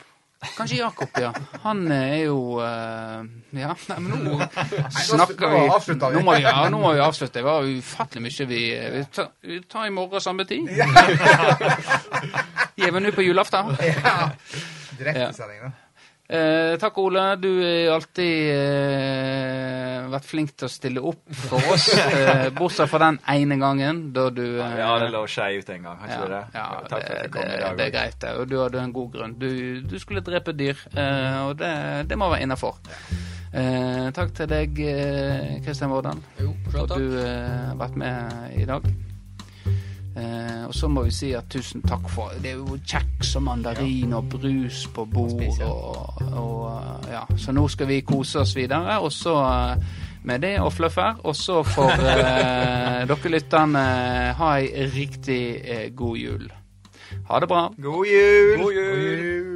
[SPEAKER 1] Kanskje Jakob, ja. Han er jo eh, Ja, nei, men nå
[SPEAKER 3] nå
[SPEAKER 1] snakker vi
[SPEAKER 3] avslutter vi.
[SPEAKER 1] Nå må vi, ja, nå må vi avslutte. Det var ufattelig mye vi eh, Vi tar, vi tar i morgen samme tid. Gjeven ut på julaften.
[SPEAKER 3] Ja.
[SPEAKER 1] Ja.
[SPEAKER 3] Direktesending, da.
[SPEAKER 1] Eh, takk, Ole. Du har alltid eh, vært flink til å stille opp for oss. Eh, bortsett fra den ene gangen da du eh,
[SPEAKER 2] Ja, det lå skei ut en gang, har ikke
[SPEAKER 1] ja,
[SPEAKER 2] du det?
[SPEAKER 1] ja,
[SPEAKER 2] Takk for at
[SPEAKER 1] det,
[SPEAKER 2] du kom
[SPEAKER 1] det,
[SPEAKER 2] i dag.
[SPEAKER 1] det er
[SPEAKER 2] også.
[SPEAKER 1] greit, det. Og du hadde en god grunn. Du, du skulle drepe dyr, eh, og det, det må være innafor. Eh, takk til deg, eh, Kristian Vårdal,
[SPEAKER 4] Jo,
[SPEAKER 1] for
[SPEAKER 4] sjøl
[SPEAKER 1] at
[SPEAKER 4] takk.
[SPEAKER 1] du eh, har vært med i dag. Eh, og så må vi si at tusen takk for Det er jo kjeks og mandarin og brus på bord og, og eh, Ja. Så nå skal vi kose oss videre, og så eh, med det og fluff her. Og så får eh, dere lytterne eh, ha ei riktig eh, god jul. Ha det bra.
[SPEAKER 2] God jul!
[SPEAKER 4] God jul!